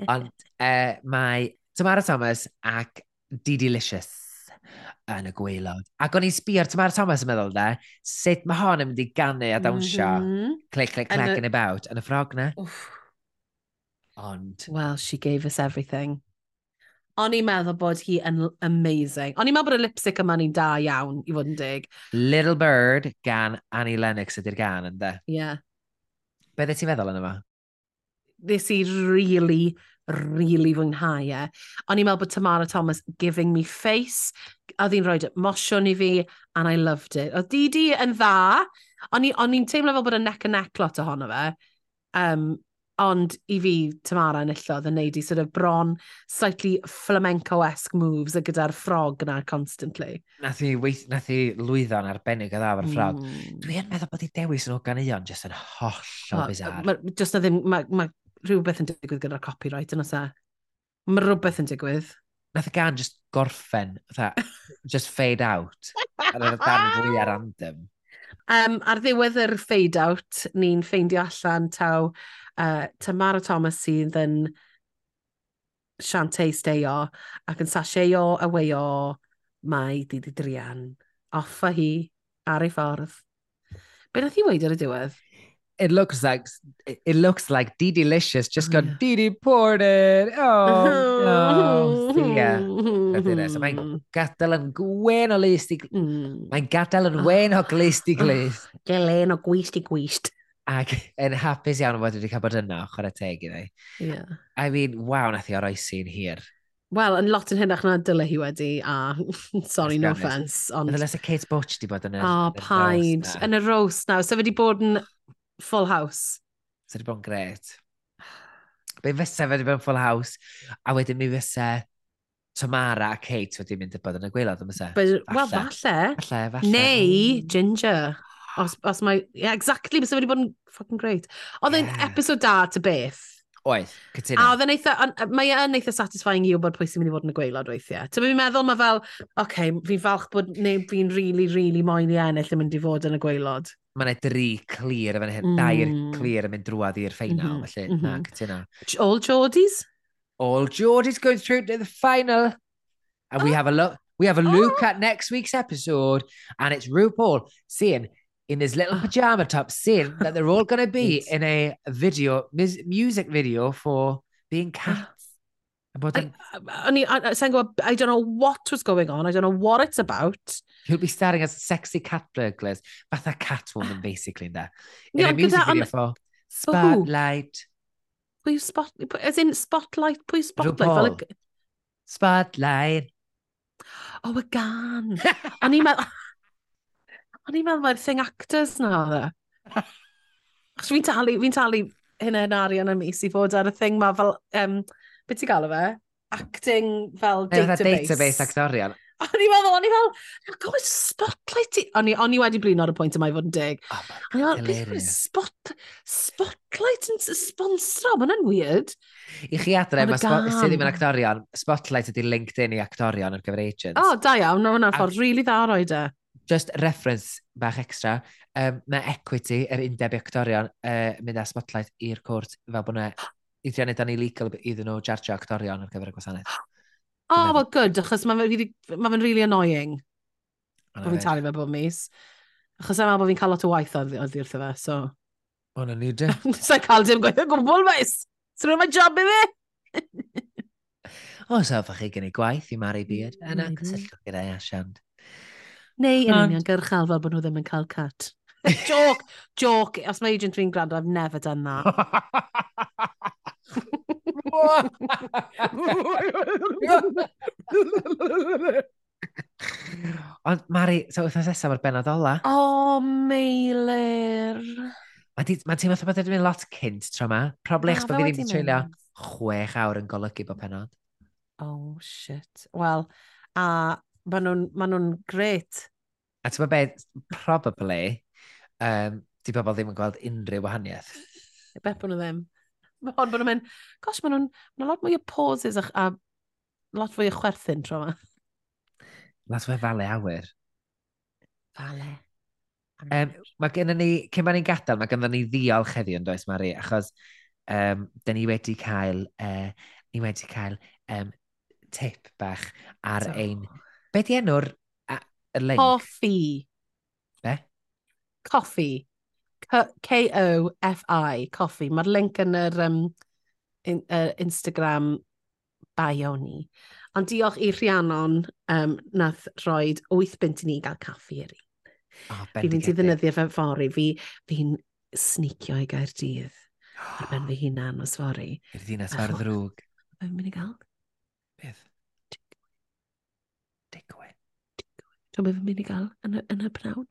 S2: Ond uh, mae Tamara Thomas ac Didi Licious yn y gweilod. Ac o'n i'n sbio ar Tamara Thomas yn meddwl da, sut mae hon yn mynd i ganu a dawnsio,
S1: Mhm.
S2: click, click,
S1: Yn
S2: clack,
S1: y-
S2: in about, yn y ffrog na.
S1: Wff.
S2: Ond,
S1: Well, she gave us everything. O'n i'n meddwl bod hi yn l- amazing. O'n i'n meddwl bod y lipstick yma ni'n da iawn, i fod yn dig.
S2: Little Bird gan Annie Lennox ydy'r gan, ynde?
S1: Yeah.
S2: Be dde ti'n meddwl yn yma?
S1: Nes i really, really fwynhau e. O'n i'n meddwl bod Tamara Thomas giving me face. Oedd hi'n rhoi motion i fi, and I loved it. Oedd Didi yn dda. O'n i- o'n i'n teimlo fel bod y neck and neck lot ohono fe. Um, Ond i fi, Tamara enillodd yn neud i sort of bron slightly flamenco-esque moves a gyda'r ffrog yna constantly.
S2: Nath i, weith, nath i lwyddo'n arbennig o dda efo'r ffrog.
S1: Mm.
S2: Dwi yn meddwl bod i dewis yn o ganeuon jyst yn hollol bizar.
S1: Ma, just na ddim, mae ma rhywbeth yn digwydd gyda'r copyright yn oes e. Mae rhywbeth yn digwydd.
S2: Nath y gan just gorffen, fatha, just fade out. Ar y darn fwy ar anthem.
S1: Um, ar ddiwedd yr fade-out, ni'n ffeindio allan taw uh, Tamara Thomas sydd yn Shantae steio ac yn sasheio a weio mae Didi Drian. Off a hi ar ei ffordd. Be nath i weid ar y diwedd?
S2: It looks like it it looks like Dee Delicious just
S1: Oh,
S2: got
S1: yeah.
S2: Dee Dee ported. Oh, no. See ya. Dyna dyna. So mae'n gadael yn gwen o list i... gl-
S1: Mm.
S2: Mae'n gadael yn wen o glist i glist.
S1: Gelen o gwyst i gwyst.
S2: Ac yn hapus iawn o fod wedi cael bod yna, chwarae teg iddi.
S1: Yeah.
S2: I mean, waw, nath i oroesi'n hir.
S1: Wel, yn lot yn hynach na dyle hi wedi, a sorry,
S2: Let's be
S1: no
S2: honest.
S1: offence,
S2: Ond
S1: ond...
S2: unless y Kate Butch di bod yn y...
S1: O, paid. Yn y roast nawr, so fe wedi bod yn full house.
S2: So wedi bod yn gret. Be fysa fe wedi bod yn full house, a wedyn mi fysa Tamara a Kate wedi mynd i bod yn y gweilod, yn fysa?
S1: Be- Wel,
S2: Falle.
S1: falle.
S2: Falle, falle. Hmm.
S1: Neu Ginger. Os, os mae... Yeah, exactly, bys wedi bod yn fucking great. Oedd e'n
S2: Yeah.
S1: episode da to beth.
S2: Oedd,
S1: A
S2: cytuno.
S1: oedd e'n eitha... on- Mae e'n eitha satisfying i wybod pwy sy'n mynd i fod yn y gweilod weithiau. Ti'n mynd i'n meddwl, mae fel... OK, fi'n falch bod neb fi'n really, really moyn i ennill yn mynd i fod yn y gweilod.
S2: Mae yna dri clir yn fan hyn, dair
S1: Mm.
S2: clir yn mynd drwad i'r ffeinal,
S1: Mhm,
S2: felly, na,
S1: mhm.
S2: cytuno.
S1: All Geordies?
S2: All Geordies going through to the final. And
S1: Oh.
S2: we have a look we have a look at next week's episode. And it's RuPaul seeing in his little pajama top seeing that they're all gonna be
S1: Oh. Yes.
S2: in a video mus- music video for being cats. And bod yn-
S1: o'n i, a- a- sa'n gwybod, I don't know what was going on, I don't know what it's about.
S2: he'll be starring as sexy cat burglars, fatha Catwoman basically in there. In
S1: Yeah,
S2: a music
S1: gyda-
S2: video
S1: ond
S2: for
S1: um, for who?
S2: Spotlight.
S1: Pwy yw spot, pwy- as in spotlight, pwy yw spotlight? Fel y-
S2: Spotlight.
S1: oh, y gan. O'n i'n meddwl, o'n i'n meddwl mae'r thing actors na dda. Achos fi'n talu, fi'n talu hynna yn arian am mis i fod ar y thing ma fel, um, beth ti'n galw fe? Acting fel
S2: Neu fatha
S1: database.
S2: database actorion.
S1: O'n i'n meddwl, o'n i'n meddwl, go with spotlight. i-" O'n i, o'n i wedi blino ar y pwynt yma i fod yn deg.
S2: Oh my
S1: O'n i'n meddwl, beth yw'r
S2: Hilarious.
S1: spot, spotlight yn s- sponsro? Mae hwnna'n weird.
S2: I chi adre,
S1: Yn y
S2: mae spo- sydd ddim yn
S1: gân.
S2: actorion, Spotlight ydy LinkedIn i actorion ar gyfer agents.
S1: O, oh, da iawn, mae hwnna'n
S2: A-
S1: ffordd rili dda o roed e.
S2: Just reference bach extra, um, mae equity, yr undeb i actorion, uh, mynd â Spotlight i'r cwrt fel bod yna i drio wneud o'n illegal iddyn nhw jarjo actorion ar gyfer y gwasanaeth.
S1: O,
S2: Dwi'n
S1: oh,
S2: meddwl.
S1: well, good, achos mae fe'n really, ma fe'n really annoying
S2: Ond
S1: bod fi'n
S2: anyway,
S1: talu fe bob mis. Achos yma bod fi'n cael lot o waith oddi oddi wrtho fe, so...
S2: Ond o'n i dy.
S1: Sa'n cael dim gwaith o gwbl, maes! Swn mae job i fi!
S2: O, so fach chi gynnu gwaith i Mari Beard. Yna,
S1: Mhm.
S2: cysylltwch gyda i Asian.
S1: Neu yn
S2: Ond-
S1: union gyrchal fel bod nhw ddim yn cael cut. joke, joke. Os mae agent fi'n gwrando, I've never done that.
S2: Ond Mari, so wythnos nesaf o'r benod ola.
S1: O, oh, Meilir.
S2: Mae ti, ma ti'n meddwl bod wedi mynd lot cynt tro yma. Probably achos
S1: Na,
S2: bod
S1: fe
S2: fi ddim
S1: wedi
S2: wedi treulio
S1: mynd.
S2: chwech awr yn golygu bod penod.
S1: Oh, shit. Wel, a maen nhw'n ma nhw gret.
S2: A ti'n meddwl beth, probably, um, di bobl ddim yn gweld unrhyw wahaniaeth.
S1: Bet bod nhw ddim. Ma' Hon bod nhw'n mynd, gosh, maen nhw'n ma lot mwy o pauses a, a lot fwy o chwerthin tro yma.
S2: Las fe fale awyr.
S1: Fale.
S2: Em, Mae gennym ni, cyn ma'n ni'n gadael, mae gennym ni ddiolch heddiw yn does, Mari, achos um, da ni wedi cael, uh, ni wedi cael um, tip bach ar so. ein... Be di enw'r a- y link?
S1: Coffi.
S2: Be?
S1: Coffi. Co- K-O-F-I. Coffi. Mae'r link yn yr um, in, uh, Instagram bio ni. Ond diolch i Rhiannon um, nath roed 8 bint i ni gael caffi yr un.
S2: Oh,
S1: Fi fynd i
S2: bendigedig.
S1: ddefnyddio fe fory. Fi, fi'n snicio i gair dydd ar ben fy hunan os fory.
S2: I'r ddinas fawr ddrwg.
S1: Fe'n mynd i gael?
S2: Beth? Digwyd.
S1: Dwi'n meddwl fe'n mynd i gael yn y, yn y pnawn.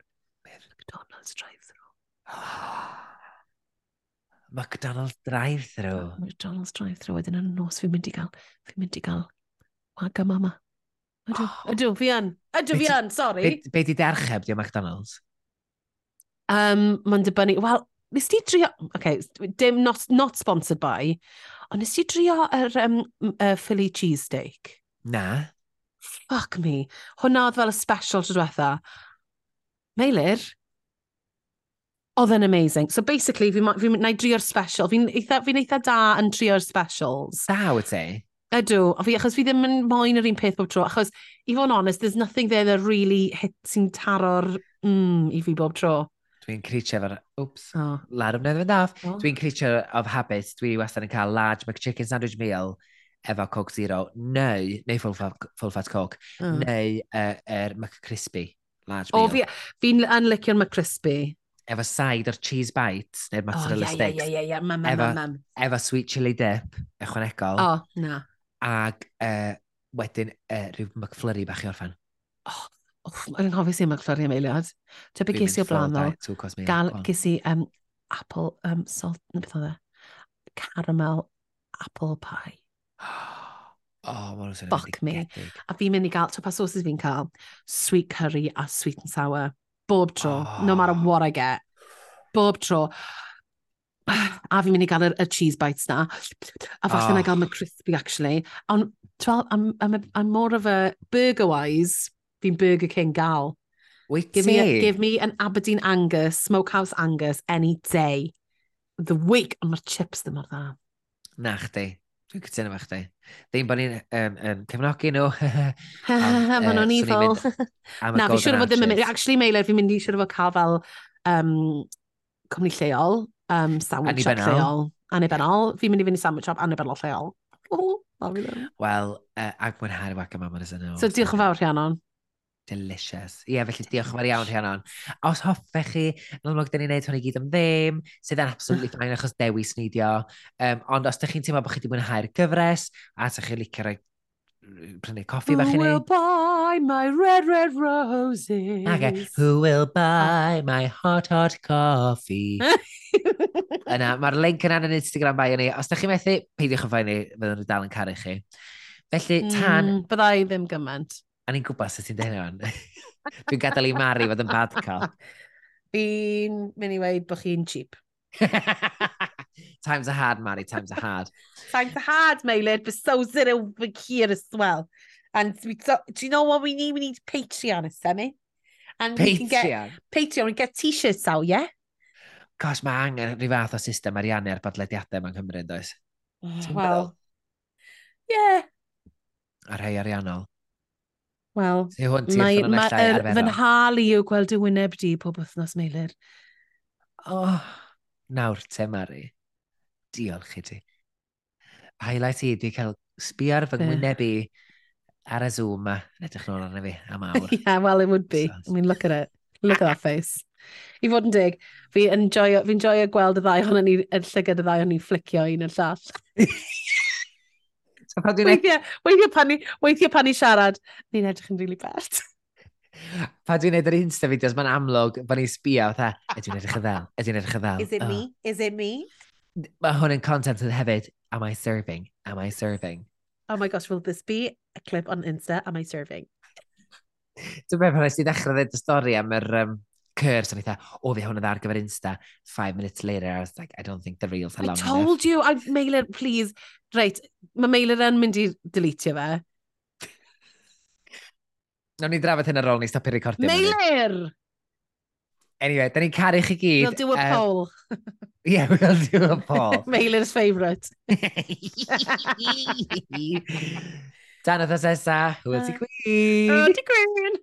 S2: Beth?
S1: McDonald's drive-thru.
S2: Oh, McDonald's drive through.
S1: McDonald's drive through wedyn yn nos fi'n mynd i gael fi'n mynd i gael wagamama ydw
S2: Oh.
S1: ydw fi yn ydw
S2: Be'
S1: fi
S2: ti-
S1: yn sori
S2: Be, be di dercheb di o McDonald's?
S1: um, mae'n dibynnu wel nes ti drio okay, dim not, not sponsored by ond nes ti drio yr um, uh, Philly cheesesteak
S2: Na.
S1: fuck me hwnna oedd fel y special tro diwetha Meilir oedd yn amazing so basically fi'n fi, na i drio'r special fi'n eitha, fi eitha da yn drio'r specials
S2: Da wyt ti?
S1: Ydw, a fi, achos fi ddim yn moyn yr un peth bob tro, achos, i fod yn honest, there's nothing there that really hit sy'n taro'r mm, i fi bob tro.
S2: Dwi'n creitio efo'r... Oops.
S1: Oh.
S2: Lad o'n mynd off.
S1: O.
S2: Dwi'n creatio of habit. Dwi wastad yn cael large McChicken sandwich meal efo Coke Zero. Neu, neu full fat, full fat Coke.
S1: Oh.
S2: Neu yr er McCrispy. Large
S1: O,
S2: meal.
S1: fi, fi'n yn licio'r McCrispy.
S2: Efo side o'r cheese bites. Neu mozzarella
S1: oh,
S2: sticks.
S1: ie, ie, ie, ie, mam, mam,
S2: Efo-
S1: mam, mam.
S2: Efo sweet chili dip. Ychwanegol.
S1: O, na.
S2: Ag uh, wedyn uh, rhyw McFlurry bach i orffan.
S1: Wff, O'n i'n hoffi sy'n McFlurry am eiliad. Te be ges i o blaen ddo? Gael, ges i um, apple, um, salt, neu beth oedd e? Caramel apple pie.
S2: Oh, ma'n rhywun
S1: Fuck me.
S2: Gedig.
S1: A fi'n mynd i gael, to pa sauces fi'n cael? Sweet curry a sweet and sour. Bob tro, no matter
S2: Oh.
S1: what I get. Bob tro. A fi'n mynd i gael y, y cheese bites na. A falle oh. na
S2: Oh.
S1: gael McCrispy, actually. Ond, twel, I'm, I'm, a, I'm more of a burger-wise, fi'n Burger King gal.
S2: Wyt
S1: Give me, a,
S2: ti?
S1: give me an Aberdeen Angus, Smokehouse Angus, any day. of The week, ond mae'r chips ddim mor dda.
S2: Na chdi. Dwi'n cytuno efo chdi. Ddim bod ni'n um, um, cefnogi nhw. am
S1: Mae
S2: yy,
S1: nhw'n
S2: Ah, eh,
S1: evil.
S2: swn i'n mynd y
S1: Na, fi'n
S2: golden
S1: siŵr fod ddim yn mynd.
S2: arches.
S1: Actually, Meilir, fi'n mynd i siŵr fod cael fel um, cwmni lleol, um, sandwich shop
S2: Annibynnol.
S1: lleol, annibynnol. Fi'n mynd i fynd i sandwich shop annibynnol lleol. Ww, love you then.
S2: Wel, uh, ag mwynhau wagamama nes yno.
S1: So, diolch yn fawr, Rhiannon.
S2: Delicious. Ie, felly diolch yn fawr iawn Rhiannon. Os hoffech chi, yn amlwg, da ni'n neud hwn i gyd am ddim, sydd yn absolutely fine achos dewis ni dio. Um, ond os da chi'n teimlo bod chi wedi mwynhau'r gyfres, a da chi'n licio roi prynu coffi bach i ni.
S1: will buy my red, red roses?
S2: Ac e, who will buy my hot, hot coffee? Yna, mae'r link yna yn Instagram bio ni. Os da chi'n methu, peidiwch yn ffaen ni, fyddwn nhw dal yn caru chi. Felly, tan,
S1: Mm, Bydda i ddim gymaint.
S2: a ni'n gwybod sut ti'n dweud hwn. Dwi'n gadael i Mari fod yn bad cop.
S1: Fi'n mynd i weid bod chi'n cheap.
S2: times are hard, Mari, times are hard.
S1: Times are hard, Meilir, but so's it over here as well. And we do, do you know what we need? We need Patreon, is Semi. And we can get
S2: Patreon.
S1: Patreon and get t-shirts out, yeah?
S2: Gosh, mae angen rhyw fath o system ariannu ar bodlediadau mewn Cymru, yn does? Ti'n meddwl?
S1: Well, yeah.
S2: A rhai ariannol.
S1: Well,
S2: Ti hwn ti'n
S1: mae,
S2: ffynon
S1: mae
S2: allau
S1: er, fy
S2: arferol.
S1: nhal i yw gweld dy wyneb di pob wythnos, Meilir.
S2: Oh, nawr te, Mari. Diolch i ti. Highlight i, di cael sbi ar fy
S1: Be?
S2: ngwyneb i ar y Zoom ma. Yn Edrych nôl arna fi, am awr.
S1: yeah, well, it would be.
S2: Sounds-
S1: I mean, look at it. Look at that face. I fod yn dig, fi yn joio, fi joio gweld y ddau ohono ni, y llygad y ddau ohono ni flicio un yn llall.
S2: So pan dwi'n
S1: Weithiau, weithiau pan ni, weithiau pan ni siarad, ni'n edrych yn really bell.
S2: pa dwi'n neud yr Insta videos, mae'n amlwg bod ni'n sbio, fatha, ydy'n edrych yn ddel, ydy'n edrych yn ddel. Oh.
S1: Is it me?
S2: Mae hwn yn content yn hefyd, am I serving? Am I serving?
S1: Oh my gosh, will this be a clip on Insta? Am I serving?
S2: Dwi'n meddwl pan nes i ddechrau ddweud y stori am yr um, curs, o'n i dda, o fi hwn yn dda ar gyfer Insta, five minutes later, I was like, I don't think the reels are
S1: I
S2: long enough.
S1: told you, I Mailer, please. Reit, mae Mailer yn mynd i deletio fe.
S2: Nawn ni drafod hyn ar ôl ni stopio recordio.
S1: Mailer!
S2: Anyway, da ni'n caru chi gyd. er-
S1: We'll do a
S2: Yym,
S1: poll.
S2: Yeah, we'll do a poll.
S1: Mailer's favourite.
S2: Dan oedd esa, who is he
S1: Uh,
S2: queen?
S1: Oh, Andy Green!